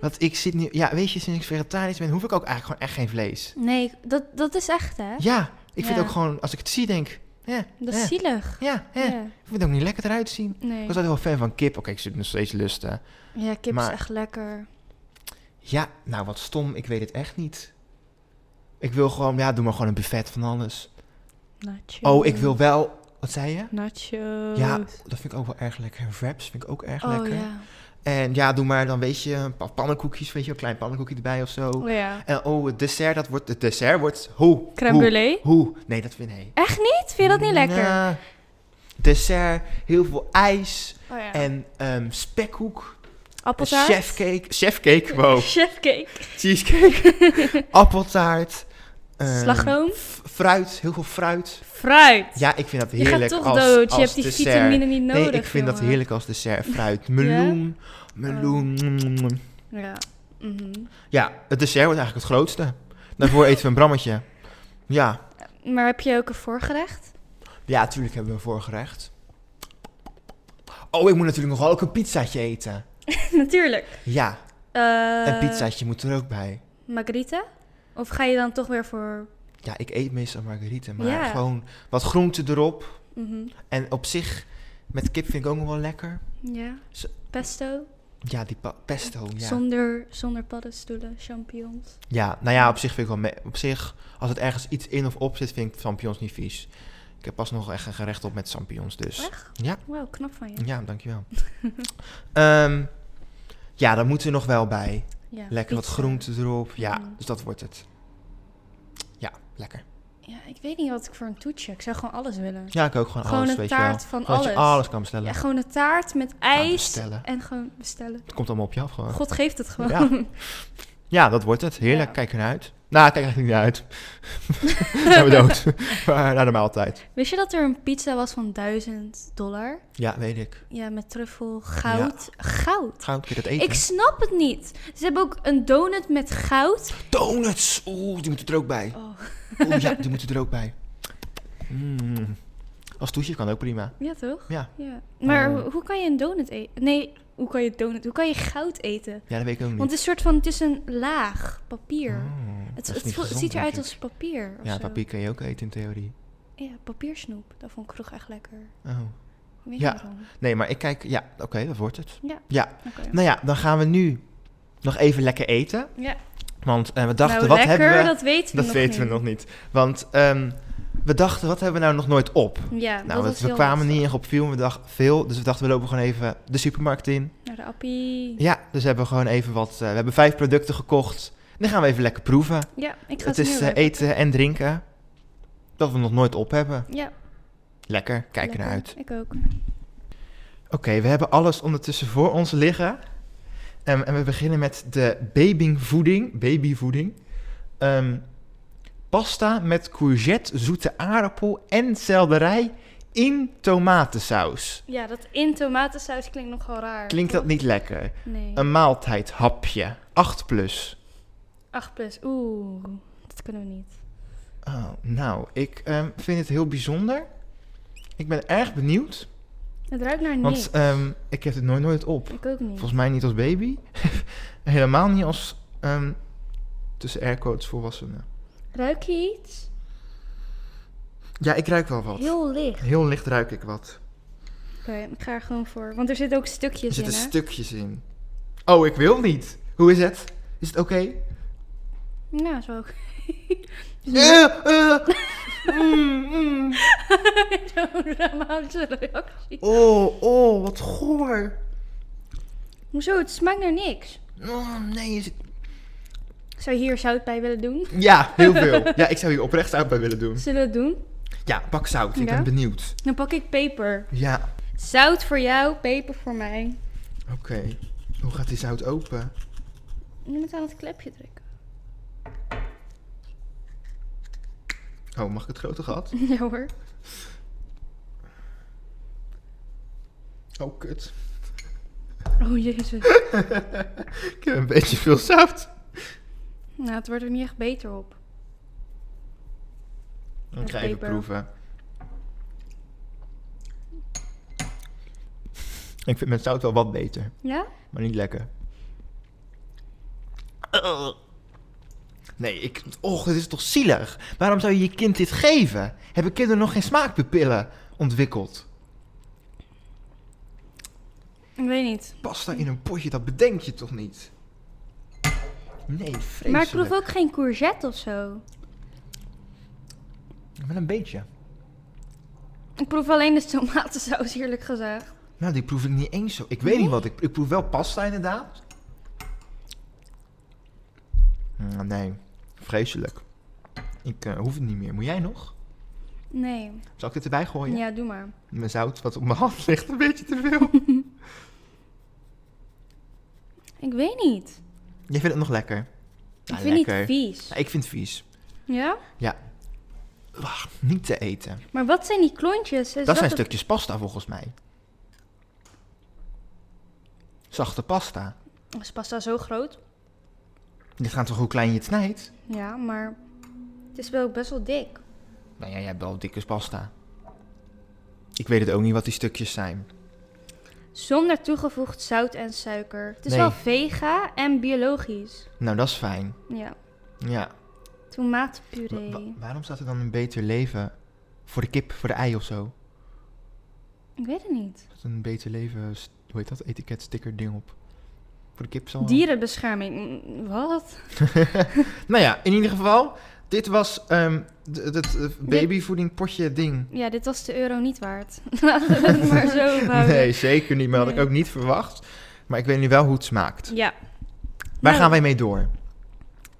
Speaker 1: Want ik zit nu... Ja, weet je, sinds ik vegetarisch ben, hoef ik ook eigenlijk gewoon echt geen vlees.
Speaker 2: Nee, dat, dat is echt hè?
Speaker 1: Ja, ik vind
Speaker 2: Ja.
Speaker 1: ook gewoon, als ik het zie, denk ja,
Speaker 2: Dat is
Speaker 1: ja,
Speaker 2: zielig.
Speaker 1: ja, ja.
Speaker 2: Ja.
Speaker 1: Ik vind het ook niet lekker eruit zien. Ik
Speaker 2: Nee.
Speaker 1: was altijd wel fan van kip. Oké, ik zit nog steeds lusten.
Speaker 2: Ja, kip
Speaker 1: maar-
Speaker 2: is echt lekker.
Speaker 1: Ja, nou wat stom, ik weet het echt niet. Ik wil gewoon, ja, doe maar gewoon een buffet van alles.
Speaker 2: Nacho.
Speaker 1: Oh, ik wil wel, wat zei je?
Speaker 2: Nacho.
Speaker 1: Ja, dat vind ik ook wel erg lekker. Wraps vind ik ook erg
Speaker 2: Eh. Oh
Speaker 1: lekker.
Speaker 2: ja.
Speaker 1: En ja, doe maar dan, weet je, een paar pannenkoekjes, weet je, een klein pannenkoekje erbij of zo.
Speaker 2: Oh ja.
Speaker 1: En oh, het dessert, dat wordt, het dessert wordt, hoe?
Speaker 2: Crème
Speaker 1: hoe,
Speaker 2: brûlée?
Speaker 1: hoe? Nee, dat vind ik, nee.
Speaker 2: Echt niet? Vind je dat niet lekker?
Speaker 1: Nou, dessert, heel veel ijs
Speaker 2: Oh ja.
Speaker 1: en ehm, spekhoek,
Speaker 2: Appeltaart? [laughs]
Speaker 1: chefcake, chefcake, wow,
Speaker 2: Chefcake.
Speaker 1: cheesecake,
Speaker 2: [laughs]
Speaker 1: appeltaart, ehm,
Speaker 2: Slagroom?
Speaker 1: f- fruit, heel veel fruit.
Speaker 2: Fruit.
Speaker 1: Ja, ik vind dat
Speaker 2: je
Speaker 1: heerlijk
Speaker 2: gaat toch
Speaker 1: als,
Speaker 2: dood.
Speaker 1: als
Speaker 2: Je hebt die
Speaker 1: dessert.
Speaker 2: vitamine niet nodig.
Speaker 1: nee, ik vind dat
Speaker 2: jongen. Oh.
Speaker 1: heerlijk als
Speaker 2: [laughs]
Speaker 1: dessert, fruit, meloen, meloen. mm, mm, mm.
Speaker 2: Ja. Mhm.
Speaker 1: Ja, het dessert wordt eigenlijk het grootste. Daarvoor eten we een brammetje. Ja,
Speaker 2: Maar heb je ook een voorgerecht?
Speaker 1: ja, natuurlijk hebben we een voorgerecht. Oh, ik moet natuurlijk nog wel ook een pizzaatje eten.
Speaker 2: Natuurlijk.
Speaker 1: Ja,
Speaker 2: Eh,
Speaker 1: Een pizzaatje moet er ook bij.
Speaker 2: Margarita? Of ga je dan toch weer voor...
Speaker 1: Ja, ik eet meestal margarieten, maar
Speaker 2: Ja.
Speaker 1: gewoon wat groente erop.
Speaker 2: Mhm.
Speaker 1: En op zich, met kip vind ik ook nog wel lekker.
Speaker 2: Ja.
Speaker 1: Zo-
Speaker 2: Pesto?
Speaker 1: Ja, die pa- pesto, ja.
Speaker 2: Zonder, zonder paddenstoelen, champignons.
Speaker 1: Ja, nou ja, op zich vind ik wel... me- op zich, als het ergens iets in of op zit, vind ik champignons niet vies. Ik heb pas nog echt een gerecht op met champignons, dus...
Speaker 2: Echt?
Speaker 1: Ja.
Speaker 2: Wauw, knap van je.
Speaker 1: Ja, dankjewel. [laughs] Ehm ja, daar moeten we nog wel bij.
Speaker 2: Ja,
Speaker 1: Lekker wat
Speaker 2: pizza.
Speaker 1: groente erop. Ja,
Speaker 2: Mm.
Speaker 1: dus dat wordt het. Ja, lekker.
Speaker 2: eh, Ja, ik weet niet wat ik voor een toetje. Ik zou gewoon alles willen.
Speaker 1: Ja, ik ook gewoon,
Speaker 2: Gewoon
Speaker 1: alles,
Speaker 2: een
Speaker 1: weet
Speaker 2: taart
Speaker 1: je wel.
Speaker 2: van
Speaker 1: Gewoon dat je
Speaker 2: alles.
Speaker 1: alles kan bestellen.
Speaker 2: Ja, gewoon een taart met
Speaker 1: Ja,
Speaker 2: ijs
Speaker 1: bestellen.
Speaker 2: en gewoon bestellen.
Speaker 1: Het komt allemaal op je af gewoon.
Speaker 2: God geeft het gewoon.
Speaker 1: Ja, dat wordt het. Heerlijk.
Speaker 2: Ja.
Speaker 1: Kijk ernaar uit. Nou, ik kijk eigenlijk niet naar
Speaker 2: [laughs]
Speaker 1: uit. [laughs] Zijn we dood. [laughs] maar naar de maaltijd.
Speaker 2: [laughs] Wist je dat er een pizza was van 1000 dollar?
Speaker 1: Ja, weet ik.
Speaker 2: Ja, met truffel, goud. Goud.
Speaker 1: Gaan we een keer dat eten?
Speaker 2: Ik snap het niet. Ze hebben ook een donut met goud.
Speaker 1: Donuts! Oeh, die moeten er ook
Speaker 2: [laughs]
Speaker 1: bij.
Speaker 2: Oh.
Speaker 1: Oeh, ja, die moeten er ook bij. Mm. Als toetje kan ook prima.
Speaker 2: Ja, toch?
Speaker 1: Ja.
Speaker 2: ja. Maar
Speaker 1: Oh.
Speaker 2: ho- hoe kan je een donut eten? Nee, hoe kan je donut? Hoe kan je goud eten?
Speaker 1: Ja, dat weet ik ook niet.
Speaker 2: Want het is soort van, het is een laag papier.
Speaker 1: Oh, dat
Speaker 2: het
Speaker 1: is
Speaker 2: het
Speaker 1: niet
Speaker 2: vo-
Speaker 1: gezond,
Speaker 2: ziet
Speaker 1: denk
Speaker 2: eruit
Speaker 1: ik.
Speaker 2: als papier. of
Speaker 1: Ja,
Speaker 2: zo.
Speaker 1: papier kan je ook eten in theorie.
Speaker 2: Ja, papiersnoep. Dat vond ik vroeger echt lekker.
Speaker 1: Oh.
Speaker 2: Weet je
Speaker 1: Ja.
Speaker 2: waarom?
Speaker 1: Nee, maar ik kijk... Ja, oké, dat wordt het.
Speaker 2: Ja.
Speaker 1: Ja.
Speaker 2: Oké.
Speaker 1: Nou ja, dan gaan we nu nog even lekker eten.
Speaker 2: Ja.
Speaker 1: Want eh, we dachten,
Speaker 2: nou,
Speaker 1: wat
Speaker 2: lekker,
Speaker 1: hebben we...
Speaker 2: dat weten we
Speaker 1: Dat
Speaker 2: nog
Speaker 1: weten
Speaker 2: niet.
Speaker 1: we nog niet. Want ehm, we dachten, wat hebben we nou nog nooit op?
Speaker 2: Ja,
Speaker 1: Nou,
Speaker 2: dat
Speaker 1: we,
Speaker 2: is
Speaker 1: we
Speaker 2: heel
Speaker 1: kwamen
Speaker 2: lastig.
Speaker 1: niet echt op veel, we dachten veel. Dus we dachten, we lopen gewoon even de supermarkt in.
Speaker 2: Naar de appie. Ja,
Speaker 1: Ja, dus hebben we gewoon even wat... eh, we hebben vijf producten gekocht. En dan gaan we even lekker proeven.
Speaker 2: ik ga
Speaker 1: het
Speaker 2: het,
Speaker 1: is
Speaker 2: nu
Speaker 1: eh, eten en drinken. Dat we nog nooit op hebben.
Speaker 2: Ja,
Speaker 1: Lekker, kijk
Speaker 2: lekker.
Speaker 1: ernaar uit.
Speaker 2: Ik ook.
Speaker 1: Oké, we hebben alles ondertussen voor ons liggen. Ehm, en we beginnen met de babyvoeding. babyvoeding. Ehm, pasta met courgette, zoete aardappel en selderij in tomatensaus.
Speaker 2: Ja, dat in tomatensaus klinkt nogal raar.
Speaker 1: Klinkt dat Ehm, niet lekker?
Speaker 2: Nee.
Speaker 1: Een maaltijdhapje, 8 plus.
Speaker 2: 8 plus. Oeh, dat kunnen we niet.
Speaker 1: Oh, nou, ik ehm, vind het heel bijzonder. Ik ben erg benieuwd,
Speaker 2: Het ruikt naar
Speaker 1: want
Speaker 2: niks.
Speaker 1: ehm, ik heb het nooit nooit op.
Speaker 2: ik ook niet.
Speaker 1: Volgens mij niet als baby. [laughs] Helemaal niet als ehm, tussen aircodes volwassenen.
Speaker 2: Ruik je iets?
Speaker 1: Ja, ik ruik wel wat.
Speaker 2: Heel licht.
Speaker 1: Heel licht ruik ik wat.
Speaker 2: Oké, ik ga er gewoon voor. Want er zitten ook
Speaker 1: Er
Speaker 2: stukjes in,
Speaker 1: zitten
Speaker 2: hè?
Speaker 1: stukjes in. Oh, ik wil niet. Hoe is het? Is het oké?
Speaker 2: nou, zo ook.
Speaker 1: Eh, eh. Mm, mm.
Speaker 2: [laughs] Zo'n dramatische reactie.
Speaker 1: Oh, oh, wat goor.
Speaker 2: Hoezo, het smaakt naar niks.
Speaker 1: Oh, nee. Is...
Speaker 2: Zou je hier zout bij willen doen?
Speaker 1: Ja, heel
Speaker 2: [laughs]
Speaker 1: veel. ja, ik zou hier oprecht zout bij willen doen.
Speaker 2: Zullen we het doen?
Speaker 1: Ja, pak zout. Ik
Speaker 2: Ja?
Speaker 1: ben benieuwd.
Speaker 2: Dan pak ik peper.
Speaker 1: Ja,
Speaker 2: Zout voor jou, peper voor mij.
Speaker 1: oké. Hoe gaat die zout open?
Speaker 2: Je moet aan het klepje trekken.
Speaker 1: Oh, mag ik het grote gat?
Speaker 2: [laughs] ja hoor.
Speaker 1: Oh, kut.
Speaker 2: Oh jezus.
Speaker 1: Ik heb een beetje veel zout.
Speaker 2: nou, het wordt er niet echt beter op.
Speaker 1: Dan ga ik even
Speaker 2: peper.
Speaker 1: proeven. Ik vind mijn zout wel wat beter,
Speaker 2: Ja?
Speaker 1: maar niet lekker. Ugh. Nee, ik... Och, dit is toch zielig? Waarom zou je je kind dit geven? Hebben kinderen nog geen smaakpapillen ontwikkeld?
Speaker 2: Ik weet niet.
Speaker 1: Pasta in een potje, dat bedenk je toch niet? Nee, vreselijk.
Speaker 2: Maar ik proef ook geen courgette of zo.
Speaker 1: Wel een beetje.
Speaker 2: Ik proef alleen de tomatensaus, [laughs] eerlijk gezegd.
Speaker 1: Nou, die proef ik niet eens zo. Ik weet niet wat. Ik, ik proef wel pasta inderdaad. Mm, Nee, vreselijk. Ik eh, hoef het niet meer. Moet jij nog?
Speaker 2: Nee.
Speaker 1: Zal ik dit erbij gooien?
Speaker 2: Ja, doe maar.
Speaker 1: Mijn zout wat op mijn [laughs] hand ligt een beetje te veel.
Speaker 2: Ik weet niet.
Speaker 1: jij vindt het nog lekker?
Speaker 2: Ik
Speaker 1: Ja,
Speaker 2: vind
Speaker 1: Ah, lekker.
Speaker 2: het niet vies.
Speaker 1: Ja, ik vind het vies.
Speaker 2: Ja?
Speaker 1: Ugh, niet te eten.
Speaker 2: Maar wat zijn die klontjes? Is
Speaker 1: dat zijn
Speaker 2: een-
Speaker 1: stukjes pasta volgens mij. Zachte pasta.
Speaker 2: Is pasta zo groot?
Speaker 1: Dit gaat toch hoe klein je het snijdt?
Speaker 2: Ja, maar het is wel best wel dik.
Speaker 1: Nou ja, jij hebt wel dikke pasta. Ik weet het ook niet wat die stukjes zijn.
Speaker 2: Zonder toegevoegd zout en suiker. Het is
Speaker 1: Nee.
Speaker 2: wel vega en biologisch.
Speaker 1: Nou, dat is fijn.
Speaker 2: Ja.
Speaker 1: Ja. Wa-
Speaker 2: Tomatenpuree.
Speaker 1: wa- waarom staat er dan een beter leven voor de kip, voor de ei of zo?
Speaker 2: Ik weet het niet.
Speaker 1: Staat een beter leven, st- hoe heet dat, etiket sticker ding op? Voor de kip zal...
Speaker 2: Dierenbescherming. Mm, Wat?
Speaker 1: [laughs] nou ja, in ieder geval, dit was ehm het babyvoeding potje ding.
Speaker 2: Ja, dit was de euro niet waard. [laughs] Laten we het maar zo houden.
Speaker 1: Nee, zeker niet, maar had ik
Speaker 2: Nee.
Speaker 1: ook niet verwacht. Maar ik weet nu wel hoe het smaakt.
Speaker 2: Ja.
Speaker 1: Waar
Speaker 2: Nou,
Speaker 1: gaan wij mee door?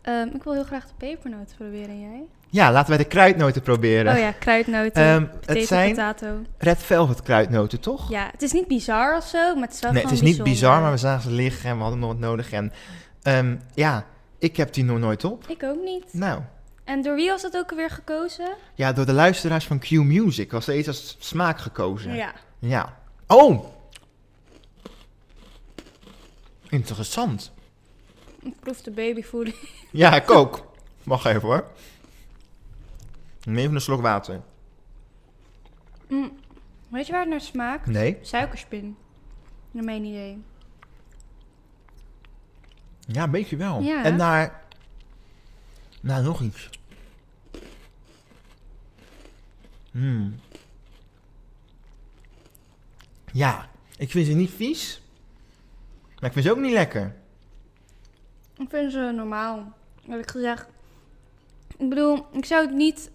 Speaker 2: ehm, ik wil heel graag de pepernoot proberen, jij?
Speaker 1: Ja, laten wij de kruidnoten proberen.
Speaker 2: Oh ja, kruidnoten.
Speaker 1: Ehm,
Speaker 2: potato,
Speaker 1: het zijn
Speaker 2: potato.
Speaker 1: red velvet kruidnoten, toch?
Speaker 2: Ja, het is niet bizar of zo, maar het is wel
Speaker 1: Nee, het
Speaker 2: gewoon
Speaker 1: is niet bizar,
Speaker 2: bijzonder.
Speaker 1: maar we zagen ze liggen en we hadden nog wat nodig. En ehm, ja, ik heb die nog nooit op.
Speaker 2: Ik ook niet.
Speaker 1: Nou,
Speaker 2: En door wie was dat ook weer gekozen?
Speaker 1: ja, door de luisteraars van Q Music was deze als smaak gekozen.
Speaker 2: Ja.
Speaker 1: Ja. Oh! Interessant.
Speaker 2: Ik proef de babyvoeding.
Speaker 1: Ja, ik ook. Wacht even hoor. Neem even een slok water.
Speaker 2: Mm. Weet je waar het naar smaakt?
Speaker 1: Nee?
Speaker 2: Suikerspin. Naar mijn idee.
Speaker 1: Ja, een beetje wel.
Speaker 2: Ja, hè?
Speaker 1: En naar... Naar nog iets. Hmm. Ja, ik vind ze niet vies. Maar ik vind ze ook niet lekker.
Speaker 2: Ik vind ze normaal, eerlijk gezegd. Ik bedoel, ik zou het niet,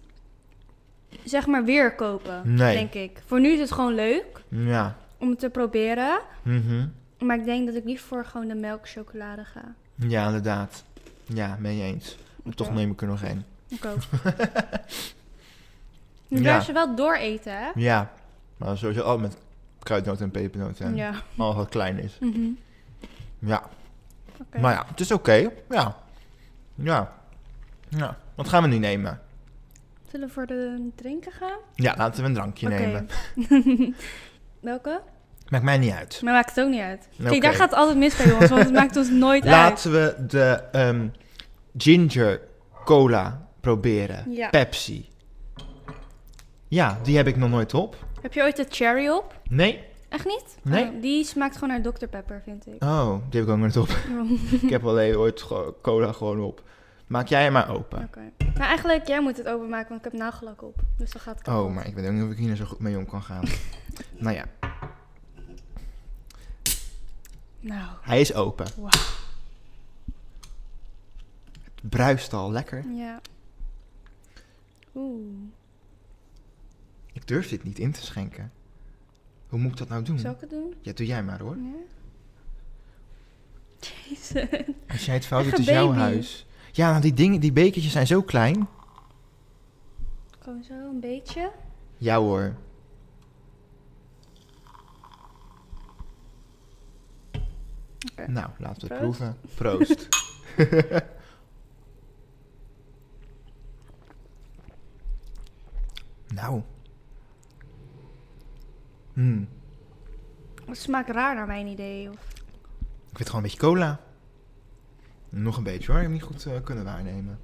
Speaker 2: zeg maar, weer kopen,
Speaker 1: Nee.
Speaker 2: denk ik. Voor nu is het gewoon leuk
Speaker 1: Ja.
Speaker 2: om het te proberen.
Speaker 1: Mhm.
Speaker 2: Maar ik denk dat ik liever voor gewoon de melkchocolade ga.
Speaker 1: Ja, inderdaad. Ja, ben je eens. Maar toch
Speaker 2: Ja.
Speaker 1: neem ik er nog één.
Speaker 2: Ik ook.
Speaker 1: [laughs]
Speaker 2: Nu
Speaker 1: Ja.
Speaker 2: blijven ze wel dooreten, hè?
Speaker 1: Ja, maar sowieso altijd met kruidnoten en pepernoten. En
Speaker 2: Ja.
Speaker 1: Al wat klein is.
Speaker 2: Mhm.
Speaker 1: Ja,
Speaker 2: Oké.
Speaker 1: maar ja, het is oké. Ja. Ja. Ja. Wat gaan we nu nemen?
Speaker 2: Zullen we voor de drinken gaan?
Speaker 1: Ja, laten we een drankje
Speaker 2: Oké.
Speaker 1: nemen.
Speaker 2: [laughs] Welke?
Speaker 1: Maakt mij niet uit.
Speaker 2: Maar maakt het ook niet uit.
Speaker 1: Oké.
Speaker 2: Kijk, daar gaat het altijd mis bij ons, want het maakt ons nooit uit.
Speaker 1: Laten we de ehm, ginger cola proberen.
Speaker 2: Ja.
Speaker 1: Pepsi. Ja, die heb ik nog nooit op.
Speaker 2: Heb je ooit de cherry op?
Speaker 1: Nee?
Speaker 2: Echt niet?
Speaker 1: Nee.
Speaker 2: Oh, die smaakt gewoon naar Dr. Pepper, vind ik.
Speaker 1: Oh, die heb ik ook nooit op.
Speaker 2: Oh.
Speaker 1: [laughs] ik heb alleen ooit ge- cola gewoon op. Maak jij hem maar open.
Speaker 2: Oké. Maar eigenlijk, jij moet het openmaken, want ik heb nagellak op. Dus dan gaat het
Speaker 1: Oh,
Speaker 2: kapot.
Speaker 1: maar ik weet ook niet of ik hier nou zo goed mee om kan
Speaker 2: [laughs]
Speaker 1: gaan. nou ja,
Speaker 2: Nou,
Speaker 1: hij is open.
Speaker 2: Wauw.
Speaker 1: Het bruist al lekker.
Speaker 2: ja. Oeh.
Speaker 1: Ik durf dit niet in te schenken. Hoe moet ik dat nou doen?
Speaker 2: Zal ik het doen?
Speaker 1: Ja, doe jij maar hoor.
Speaker 2: Ja. Jezus.
Speaker 1: Als jij het fout
Speaker 2: Echt
Speaker 1: doet,
Speaker 2: een
Speaker 1: is jouw
Speaker 2: baby.
Speaker 1: huis. Ja, nou die dingen, die bekertjes zijn zo klein.
Speaker 2: Gewoon zo een beetje.
Speaker 1: Ja hoor.
Speaker 2: Oké.
Speaker 1: Nou, laten we het proeven.
Speaker 2: Proost. [laughs]
Speaker 1: Proost. nou. Hmm.
Speaker 2: Het smaakt raar naar mijn idee. Of...
Speaker 1: Ik vind gewoon een beetje cola. Nog een beetje hoor, ik heb niet goed eh, kunnen waarnemen.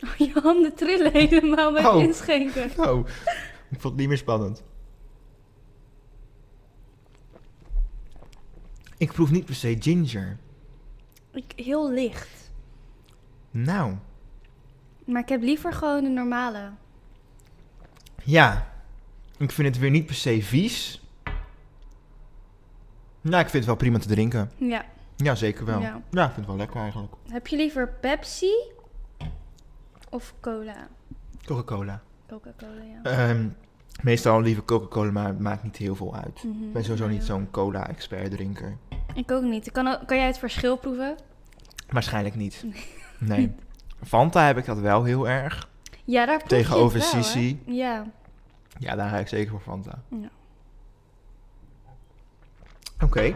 Speaker 2: Oh, [laughs] je handen trillen helemaal bij het
Speaker 1: Oh.
Speaker 2: inschenken.
Speaker 1: Nou, ik vond het niet meer spannend. Ik proef niet per se ginger.
Speaker 2: Ik, heel licht.
Speaker 1: Nou,
Speaker 2: Maar ik heb liever gewoon de normale.
Speaker 1: ja. Ik vind het weer niet per se vies. Nou, ik vind het wel prima te drinken.
Speaker 2: Ja.
Speaker 1: Ja, zeker wel. Ja,
Speaker 2: Ja.
Speaker 1: ik vind het wel lekker eigenlijk.
Speaker 2: Heb je liever Pepsi of cola?
Speaker 1: Coca-Cola.
Speaker 2: Coca-Cola, ja.
Speaker 1: Ehm, meestal liever Coca-Cola, maar het maakt niet heel veel uit.
Speaker 2: Mhm.
Speaker 1: Ik ben sowieso niet
Speaker 2: Ja.
Speaker 1: zo'n cola-expert drinker.
Speaker 2: Ik ook niet. Kan, ook- kan jij het verschil proeven?
Speaker 1: Waarschijnlijk
Speaker 2: [laughs]
Speaker 1: niet. Nee. Fanta heb ik dat wel heel erg.
Speaker 2: Ja, daar proef je
Speaker 1: Tegenover
Speaker 2: het wel, hè?
Speaker 1: Sisi.
Speaker 2: Ja.
Speaker 1: Ja, daar ga ik zeker voor Fanta.
Speaker 2: Ja.
Speaker 1: Oké.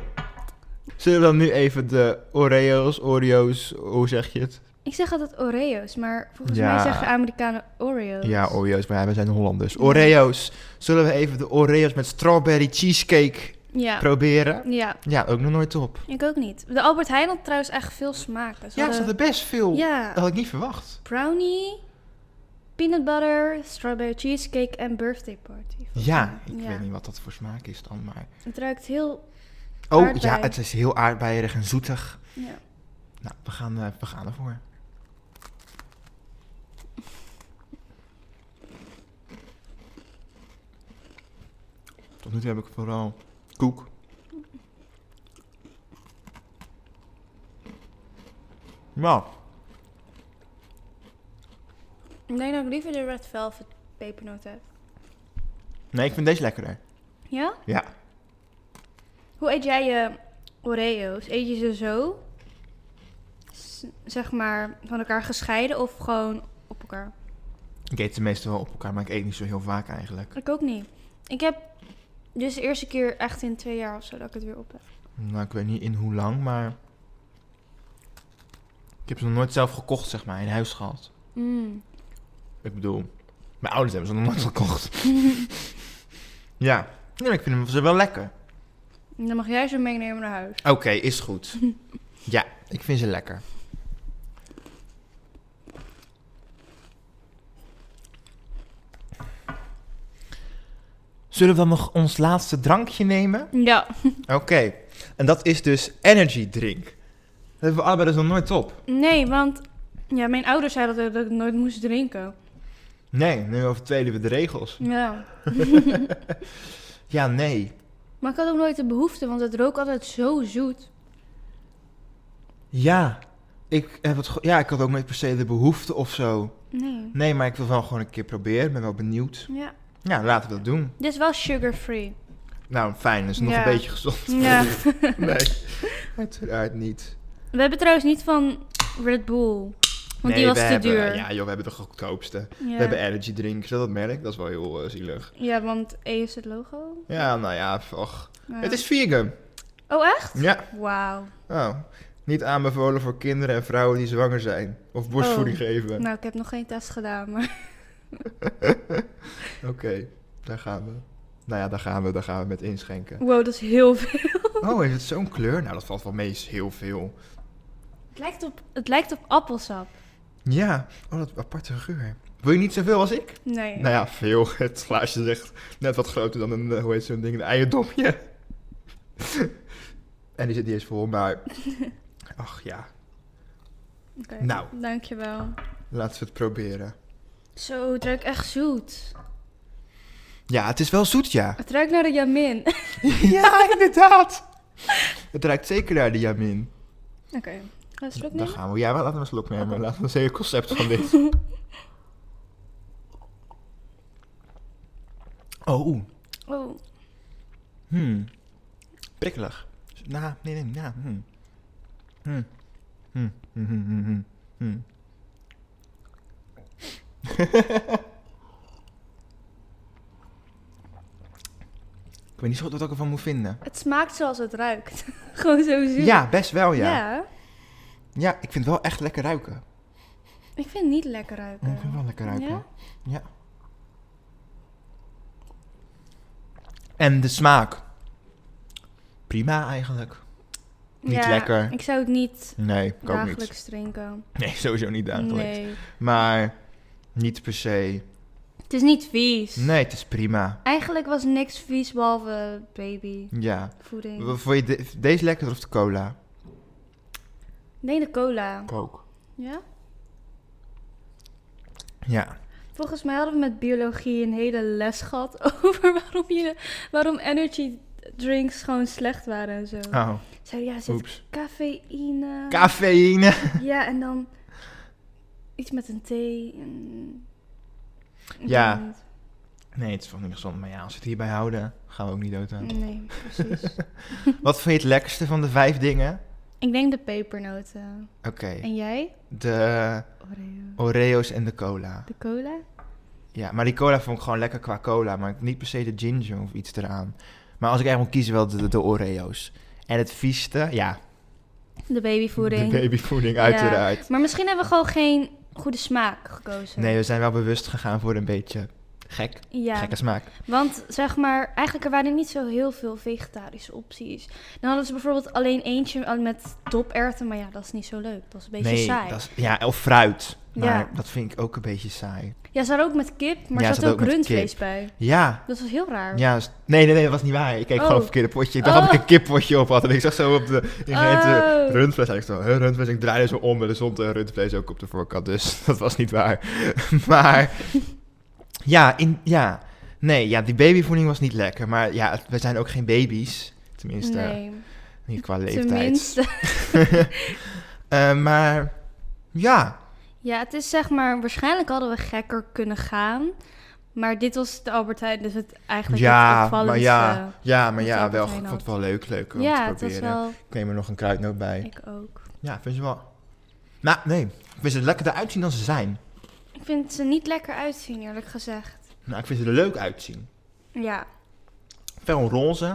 Speaker 1: Zullen we dan nu even de Oreos, Oreo's, hoe zeg je het?
Speaker 2: Ik zeg altijd Oreo's, maar volgens
Speaker 1: Ja.
Speaker 2: mij zeggen de Amerikanen Oreo's.
Speaker 1: Ja, Oreo's, maar ja, wij zijn Hollanders. Oreo's. Zullen we even de Oreo's met strawberry cheesecake
Speaker 2: Ja.
Speaker 1: proberen?
Speaker 2: ja,
Speaker 1: Ja, ook nog nooit op.
Speaker 2: ik ook niet. De Albert Heijn had trouwens echt veel smaken. Ze
Speaker 1: Ja, er
Speaker 2: hadden-
Speaker 1: zaten best veel.
Speaker 2: Ja,
Speaker 1: Dat had ik niet verwacht.
Speaker 2: brownie, peanut butter, strawberry cheesecake en birthday party. volgens
Speaker 1: Ja,
Speaker 2: mij.
Speaker 1: ik weet niet wat dat voor smaak is dan, maar...
Speaker 2: Het ruikt heel...
Speaker 1: Oh, ja,
Speaker 2: Aardbei.
Speaker 1: het is heel aardbeierig en zoetig.
Speaker 2: Ja.
Speaker 1: Nou, we gaan, eh, we gaan ervoor. Tot nu toe heb ik vooral koek. Nou,
Speaker 2: Ik denk dat ik liever de red velvet pepernoot heb.
Speaker 1: nee, ik vind deze lekkerder.
Speaker 2: Ja?
Speaker 1: Ja.
Speaker 2: Hoe eet jij je Oreo's? Eet je ze zo, S- zeg maar, van elkaar gescheiden of gewoon op elkaar?
Speaker 1: Ik eet ze meestal wel op elkaar, maar ik eet niet zo heel vaak eigenlijk.
Speaker 2: Ik ook niet. Ik heb dus de eerste keer echt in twee jaar of zo dat ik het weer op heb.
Speaker 1: Nou, ik weet niet in hoe lang, maar... Ik heb ze nog nooit zelf gekocht, zeg maar, in huis gehad.
Speaker 2: Mm.
Speaker 1: Ik bedoel, mijn ouders hebben ze nog nooit [laughs] gekocht. ja. ja, ik vind ze wel lekker.
Speaker 2: Dan mag jij ze meenemen naar huis.
Speaker 1: Oké, is goed. ja, ik vind ze lekker. Zullen we dan nog ons laatste drankje nemen?
Speaker 2: Ja.
Speaker 1: Oké, en dat is dus energy drink. Dat hebben we allebei dus nog nooit op.
Speaker 2: Nee, want ja, mijn ouders zeiden dat, dat ik nooit moest drinken.
Speaker 1: Nee, nu overtreden we de regels.
Speaker 2: Ja.
Speaker 1: Ja, nee.
Speaker 2: Maar ik had ook nooit de behoefte, want het rook altijd zo zoet.
Speaker 1: Ja, ik, heb het, ge- ja, ik had ook niet per se de behoefte of zo.
Speaker 2: Nee.
Speaker 1: Nee, maar ik wil wel gewoon een keer proberen. Ik ben wel benieuwd.
Speaker 2: Ja.
Speaker 1: Ja, laten we dat doen.
Speaker 2: Dit is wel sugar-free.
Speaker 1: Nou, fijn. Dat is nog
Speaker 2: Ja.
Speaker 1: een beetje gezond.
Speaker 2: [laughs] Ja.
Speaker 1: [laughs] nee, uiteraard niet.
Speaker 2: We hebben trouwens niet van Red Bull.
Speaker 1: nee,
Speaker 2: Want die was
Speaker 1: we
Speaker 2: te
Speaker 1: hebben,
Speaker 2: duur.
Speaker 1: Ja, joh, we hebben de goedkoopste.
Speaker 2: Ja.
Speaker 1: We hebben energy drink. Is dat het merk? Dat is wel heel eh, zielig.
Speaker 2: Ja, want E is het logo.
Speaker 1: Ja, nou ja, och.
Speaker 2: Ja.
Speaker 1: Het is vegan.
Speaker 2: Oh, echt?
Speaker 1: Ja.
Speaker 2: Wauw.
Speaker 1: Oh. Niet aanbevolen voor kinderen en vrouwen die zwanger zijn. Of borstvoeding geven.
Speaker 2: Nou, ik heb nog geen test gedaan, maar... [laughs]
Speaker 1: Oké, daar gaan we. Nou ja, daar gaan we. Daar gaan we met inschenken.
Speaker 2: Wow, dat is heel veel.
Speaker 1: Oh, is het zo'n kleur? Nou, dat valt wel mee. Is heel veel.
Speaker 2: Het lijkt op, het lijkt op appelsap.
Speaker 1: Ja, oh, dat aparte geur. Wil je niet zoveel als ik?
Speaker 2: Nee.
Speaker 1: Nou ja, veel. [laughs] Het glaasje is echt net wat groter dan een, eh, hoe heet zo'n ding, een eierdopje. [laughs] en die zit niet eens vol, [laughs] maar... Ach ja,
Speaker 2: Oké,
Speaker 1: nou.
Speaker 2: Dankjewel.
Speaker 1: laten we het proberen.
Speaker 2: Zo, het ruikt echt zoet.
Speaker 1: Ja, het is wel zoet, ja.
Speaker 2: Het ruikt naar de jamin. Oké.
Speaker 1: [laughs] ja, [laughs] inderdaad. Het ruikt zeker naar de jamin.
Speaker 2: Gaan we een slok
Speaker 1: Dan
Speaker 2: nemen?
Speaker 1: gaan we. Ja, maar laten we een slok nemen.
Speaker 2: Oké.
Speaker 1: [laughs] Laten we eens het hele concept van dit. Oh, oeh.
Speaker 2: Oh,
Speaker 1: Hmm. Prikkelig. Na, nee, nee, ja. Hmm. Hmm. Hmm. Hmm. Hmm. hmm, hmm, hmm. [laughs] ik weet niet zo goed wat ik ervan moet vinden.
Speaker 2: het smaakt zoals het ruikt. [laughs] Gewoon zo zuur.
Speaker 1: Ja, best wel, ja. ja.
Speaker 2: ja.
Speaker 1: ik vind het wel echt lekker ruiken.
Speaker 2: Ik vind het niet lekker
Speaker 1: Ja,
Speaker 2: ruiken.
Speaker 1: ik vind het wel lekker ruiken.
Speaker 2: Ja?
Speaker 1: ja. En de smaak. Prima eigenlijk. Niet
Speaker 2: Ja,
Speaker 1: lekker.
Speaker 2: Ik zou het niet
Speaker 1: Nee, ik ook niet.
Speaker 2: dagelijks drinken.
Speaker 1: [laughs] Nee, sowieso niet dagelijks.
Speaker 2: Nee.
Speaker 1: Maar niet per se.
Speaker 2: Het is niet vies.
Speaker 1: Nee, het is prima. Eigenlijk
Speaker 2: Eigenlijk was niks vies behalve babyvoeding.
Speaker 1: Ja.
Speaker 2: Mm.
Speaker 1: W- Vond je de- deze lekkerder of de cola?
Speaker 2: Nee, de cola.
Speaker 1: Coke.
Speaker 2: Ja?
Speaker 1: Ja.
Speaker 2: Volgens mij hadden we met biologie een hele les gehad [laughs] over waarom, je, waarom energy drinks gewoon slecht waren en zo.
Speaker 1: Oh,
Speaker 2: Zo ja, er zit [laughs]
Speaker 1: oeps.
Speaker 2: cafeïne.
Speaker 1: Cafeïne.
Speaker 2: ja, en dan iets met een thee. en- Ik
Speaker 1: Ja.
Speaker 2: weet het
Speaker 1: Nee, het is wel niet gezond. Maar ja, als we het hierbij houden, gaan we ook niet dood aan.
Speaker 2: niet. Nee, precies.
Speaker 1: Wat vond je het lekkerste van de vijf dingen?
Speaker 2: ik denk de pepernoten.
Speaker 1: Oké.
Speaker 2: En jij?
Speaker 1: De
Speaker 2: Oreo.
Speaker 1: Oreo's en de cola.
Speaker 2: De cola?
Speaker 1: Ja, maar die cola vond ik gewoon lekker qua cola. Maar niet per se de ginger of iets eraan. Maar als ik echt moet kiezen, wel de, de Oreo's. En het vieste, ja,
Speaker 2: De babyvoeding.
Speaker 1: de babyvoeding
Speaker 2: Ja.
Speaker 1: uiteraard.
Speaker 2: Maar misschien hebben we gewoon geen goede smaak gekozen.
Speaker 1: Nee, we zijn wel bewust gegaan voor een beetje gek.
Speaker 2: Ja,
Speaker 1: Gekke smaak.
Speaker 2: want zeg maar, eigenlijk er waren niet zo heel veel vegetarische opties. Dan hadden ze bijvoorbeeld alleen eentje al met doperwten, maar ja, dat is niet zo leuk. Dat is een beetje
Speaker 1: nee,
Speaker 2: saai.
Speaker 1: dat is- ja, of fruit. Maar
Speaker 2: Ja.
Speaker 1: dat vind ik ook een beetje saai.
Speaker 2: Ja, ze hadden ook met kip, maar
Speaker 1: Ja,
Speaker 2: er
Speaker 1: ze
Speaker 2: zat
Speaker 1: hadden
Speaker 2: ook
Speaker 1: ook met
Speaker 2: rundvlees bij.
Speaker 1: Ja.
Speaker 2: Dat was heel raar.
Speaker 1: ja s- nee, nee, nee, dat was niet waar. Ik keek
Speaker 2: Oh.
Speaker 1: gewoon het verkeerde potje. Ik dacht dat ik
Speaker 2: Oh.
Speaker 1: een kippotje op had. En ik zag zo op de ingrediënten
Speaker 2: Oh.
Speaker 1: rundvlees. En ik dacht, huh, rundvlees. En ik draaide zo om en er stond eh, rundvlees ook op de voorkant. Dus [laughs] dat was niet waar. maar ja, in, ja, nee, ja, die babyvoeding was niet lekker. Maar ja, het- we zijn ook geen baby's. Tenminste,
Speaker 2: nee,
Speaker 1: niet qua leeftijd.
Speaker 2: tenminste. [laughs]
Speaker 1: [laughs] Eh, maar ja,
Speaker 2: Ja, het is zeg maar, waarschijnlijk hadden we gekker kunnen gaan. Maar dit was de Albert Heijn, dus het eigenlijk het
Speaker 1: ja, maar
Speaker 2: opvallendste.
Speaker 1: ja, ja, maar
Speaker 2: wat
Speaker 1: ja,
Speaker 2: Albert
Speaker 1: wel, ik
Speaker 2: Heijn
Speaker 1: vond
Speaker 2: had.
Speaker 1: het wel leuk, leuk om
Speaker 2: Ja,
Speaker 1: te
Speaker 2: het was
Speaker 1: proberen.
Speaker 2: wel...
Speaker 1: Ik neem er nog een kruidnoot bij.
Speaker 2: Ik ook.
Speaker 1: Ja, vind je wel. Nou, nee, ik vind ze lekkerder uitzien dan ze zijn.
Speaker 2: Ik vind ze niet lekker uitzien, eerlijk gezegd.
Speaker 1: Nou, ik vind ze er leuk uitzien.
Speaker 2: Ja.
Speaker 1: Fel roze.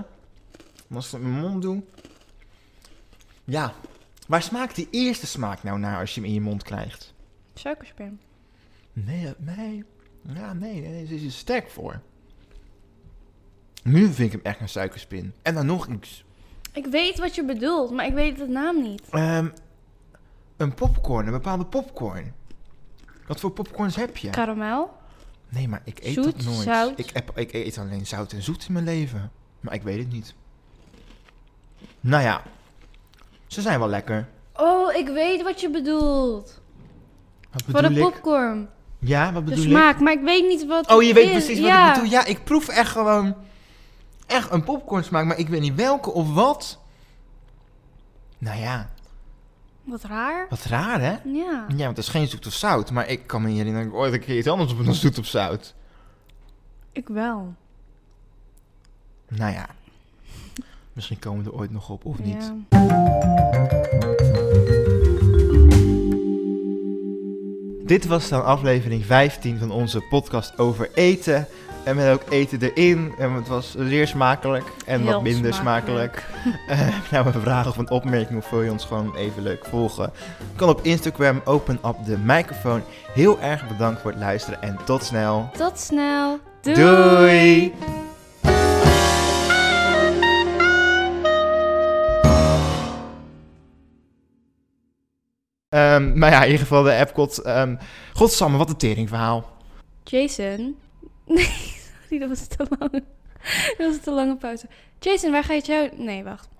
Speaker 1: En Als ik het in mijn mond doe. Ja, waar smaakt die eerste smaak nou naar als je hem in je mond krijgt?
Speaker 2: Suikerspin.
Speaker 1: Nee, dat- nee. Ja, nee, nee, daar is er sterk voor. Nu vind ik hem echt een suikerspin. En dan nog iets.
Speaker 2: Ik weet wat je bedoelt, maar ik weet de naam niet.
Speaker 1: Ehm, een popcorn, een bepaalde popcorn. Wat voor popcorns heb je?
Speaker 2: Karamel?
Speaker 1: nee, maar ik eet
Speaker 2: Zoet,
Speaker 1: dat nooit.
Speaker 2: zout.
Speaker 1: Ik, heb, ik eet alleen zout en zoet in mijn leven. Maar ik weet het niet. Nou ja, ze zijn wel lekker.
Speaker 2: Oh, ik weet wat je bedoelt.
Speaker 1: Wat
Speaker 2: Voor
Speaker 1: bedoel
Speaker 2: de
Speaker 1: ik?
Speaker 2: popcorn.
Speaker 1: Ja, wat
Speaker 2: De
Speaker 1: bedoel
Speaker 2: smaak, maar ik weet niet wat
Speaker 1: ik? Oh, je
Speaker 2: het
Speaker 1: weet
Speaker 2: is.
Speaker 1: precies wat
Speaker 2: Ja.
Speaker 1: ik bedoel. Ja, ik proef echt gewoon echt een popcorn smaak, maar ik weet niet welke of wat. Nou ja,
Speaker 2: Wat raar.
Speaker 1: wat raar hè?
Speaker 2: Ja.
Speaker 1: Ja, want het is geen zoet of zout, maar ik kan me niet herinneren dat ik ooit een keer iets anders op dan zoet of zout.
Speaker 2: Ik wel.
Speaker 1: Nou ja. Misschien komen we er ooit nog op, of niet.
Speaker 2: Ja.
Speaker 1: Dit was dan aflevering 15 van onze podcast over eten. En met ook eten erin. En het was zeer smakelijk en wat
Speaker 2: Heel
Speaker 1: minder smakelijk. [laughs] Eh, nou, een vraag of een opmerking of wil je ons gewoon even leuk volgen? Kan op Instagram, open up de microfoon. Heel erg bedankt voor het luisteren en tot snel.
Speaker 2: Tot snel.
Speaker 1: Doei! Ehm, maar ja, in ieder geval de Epcot. ehm Godsamme, wat een teringverhaal.
Speaker 2: Jason. [laughs] Nee, sorry, dat was te lang. Dat was te lange pauze. Jason, waar ga je jou... Nee, wacht.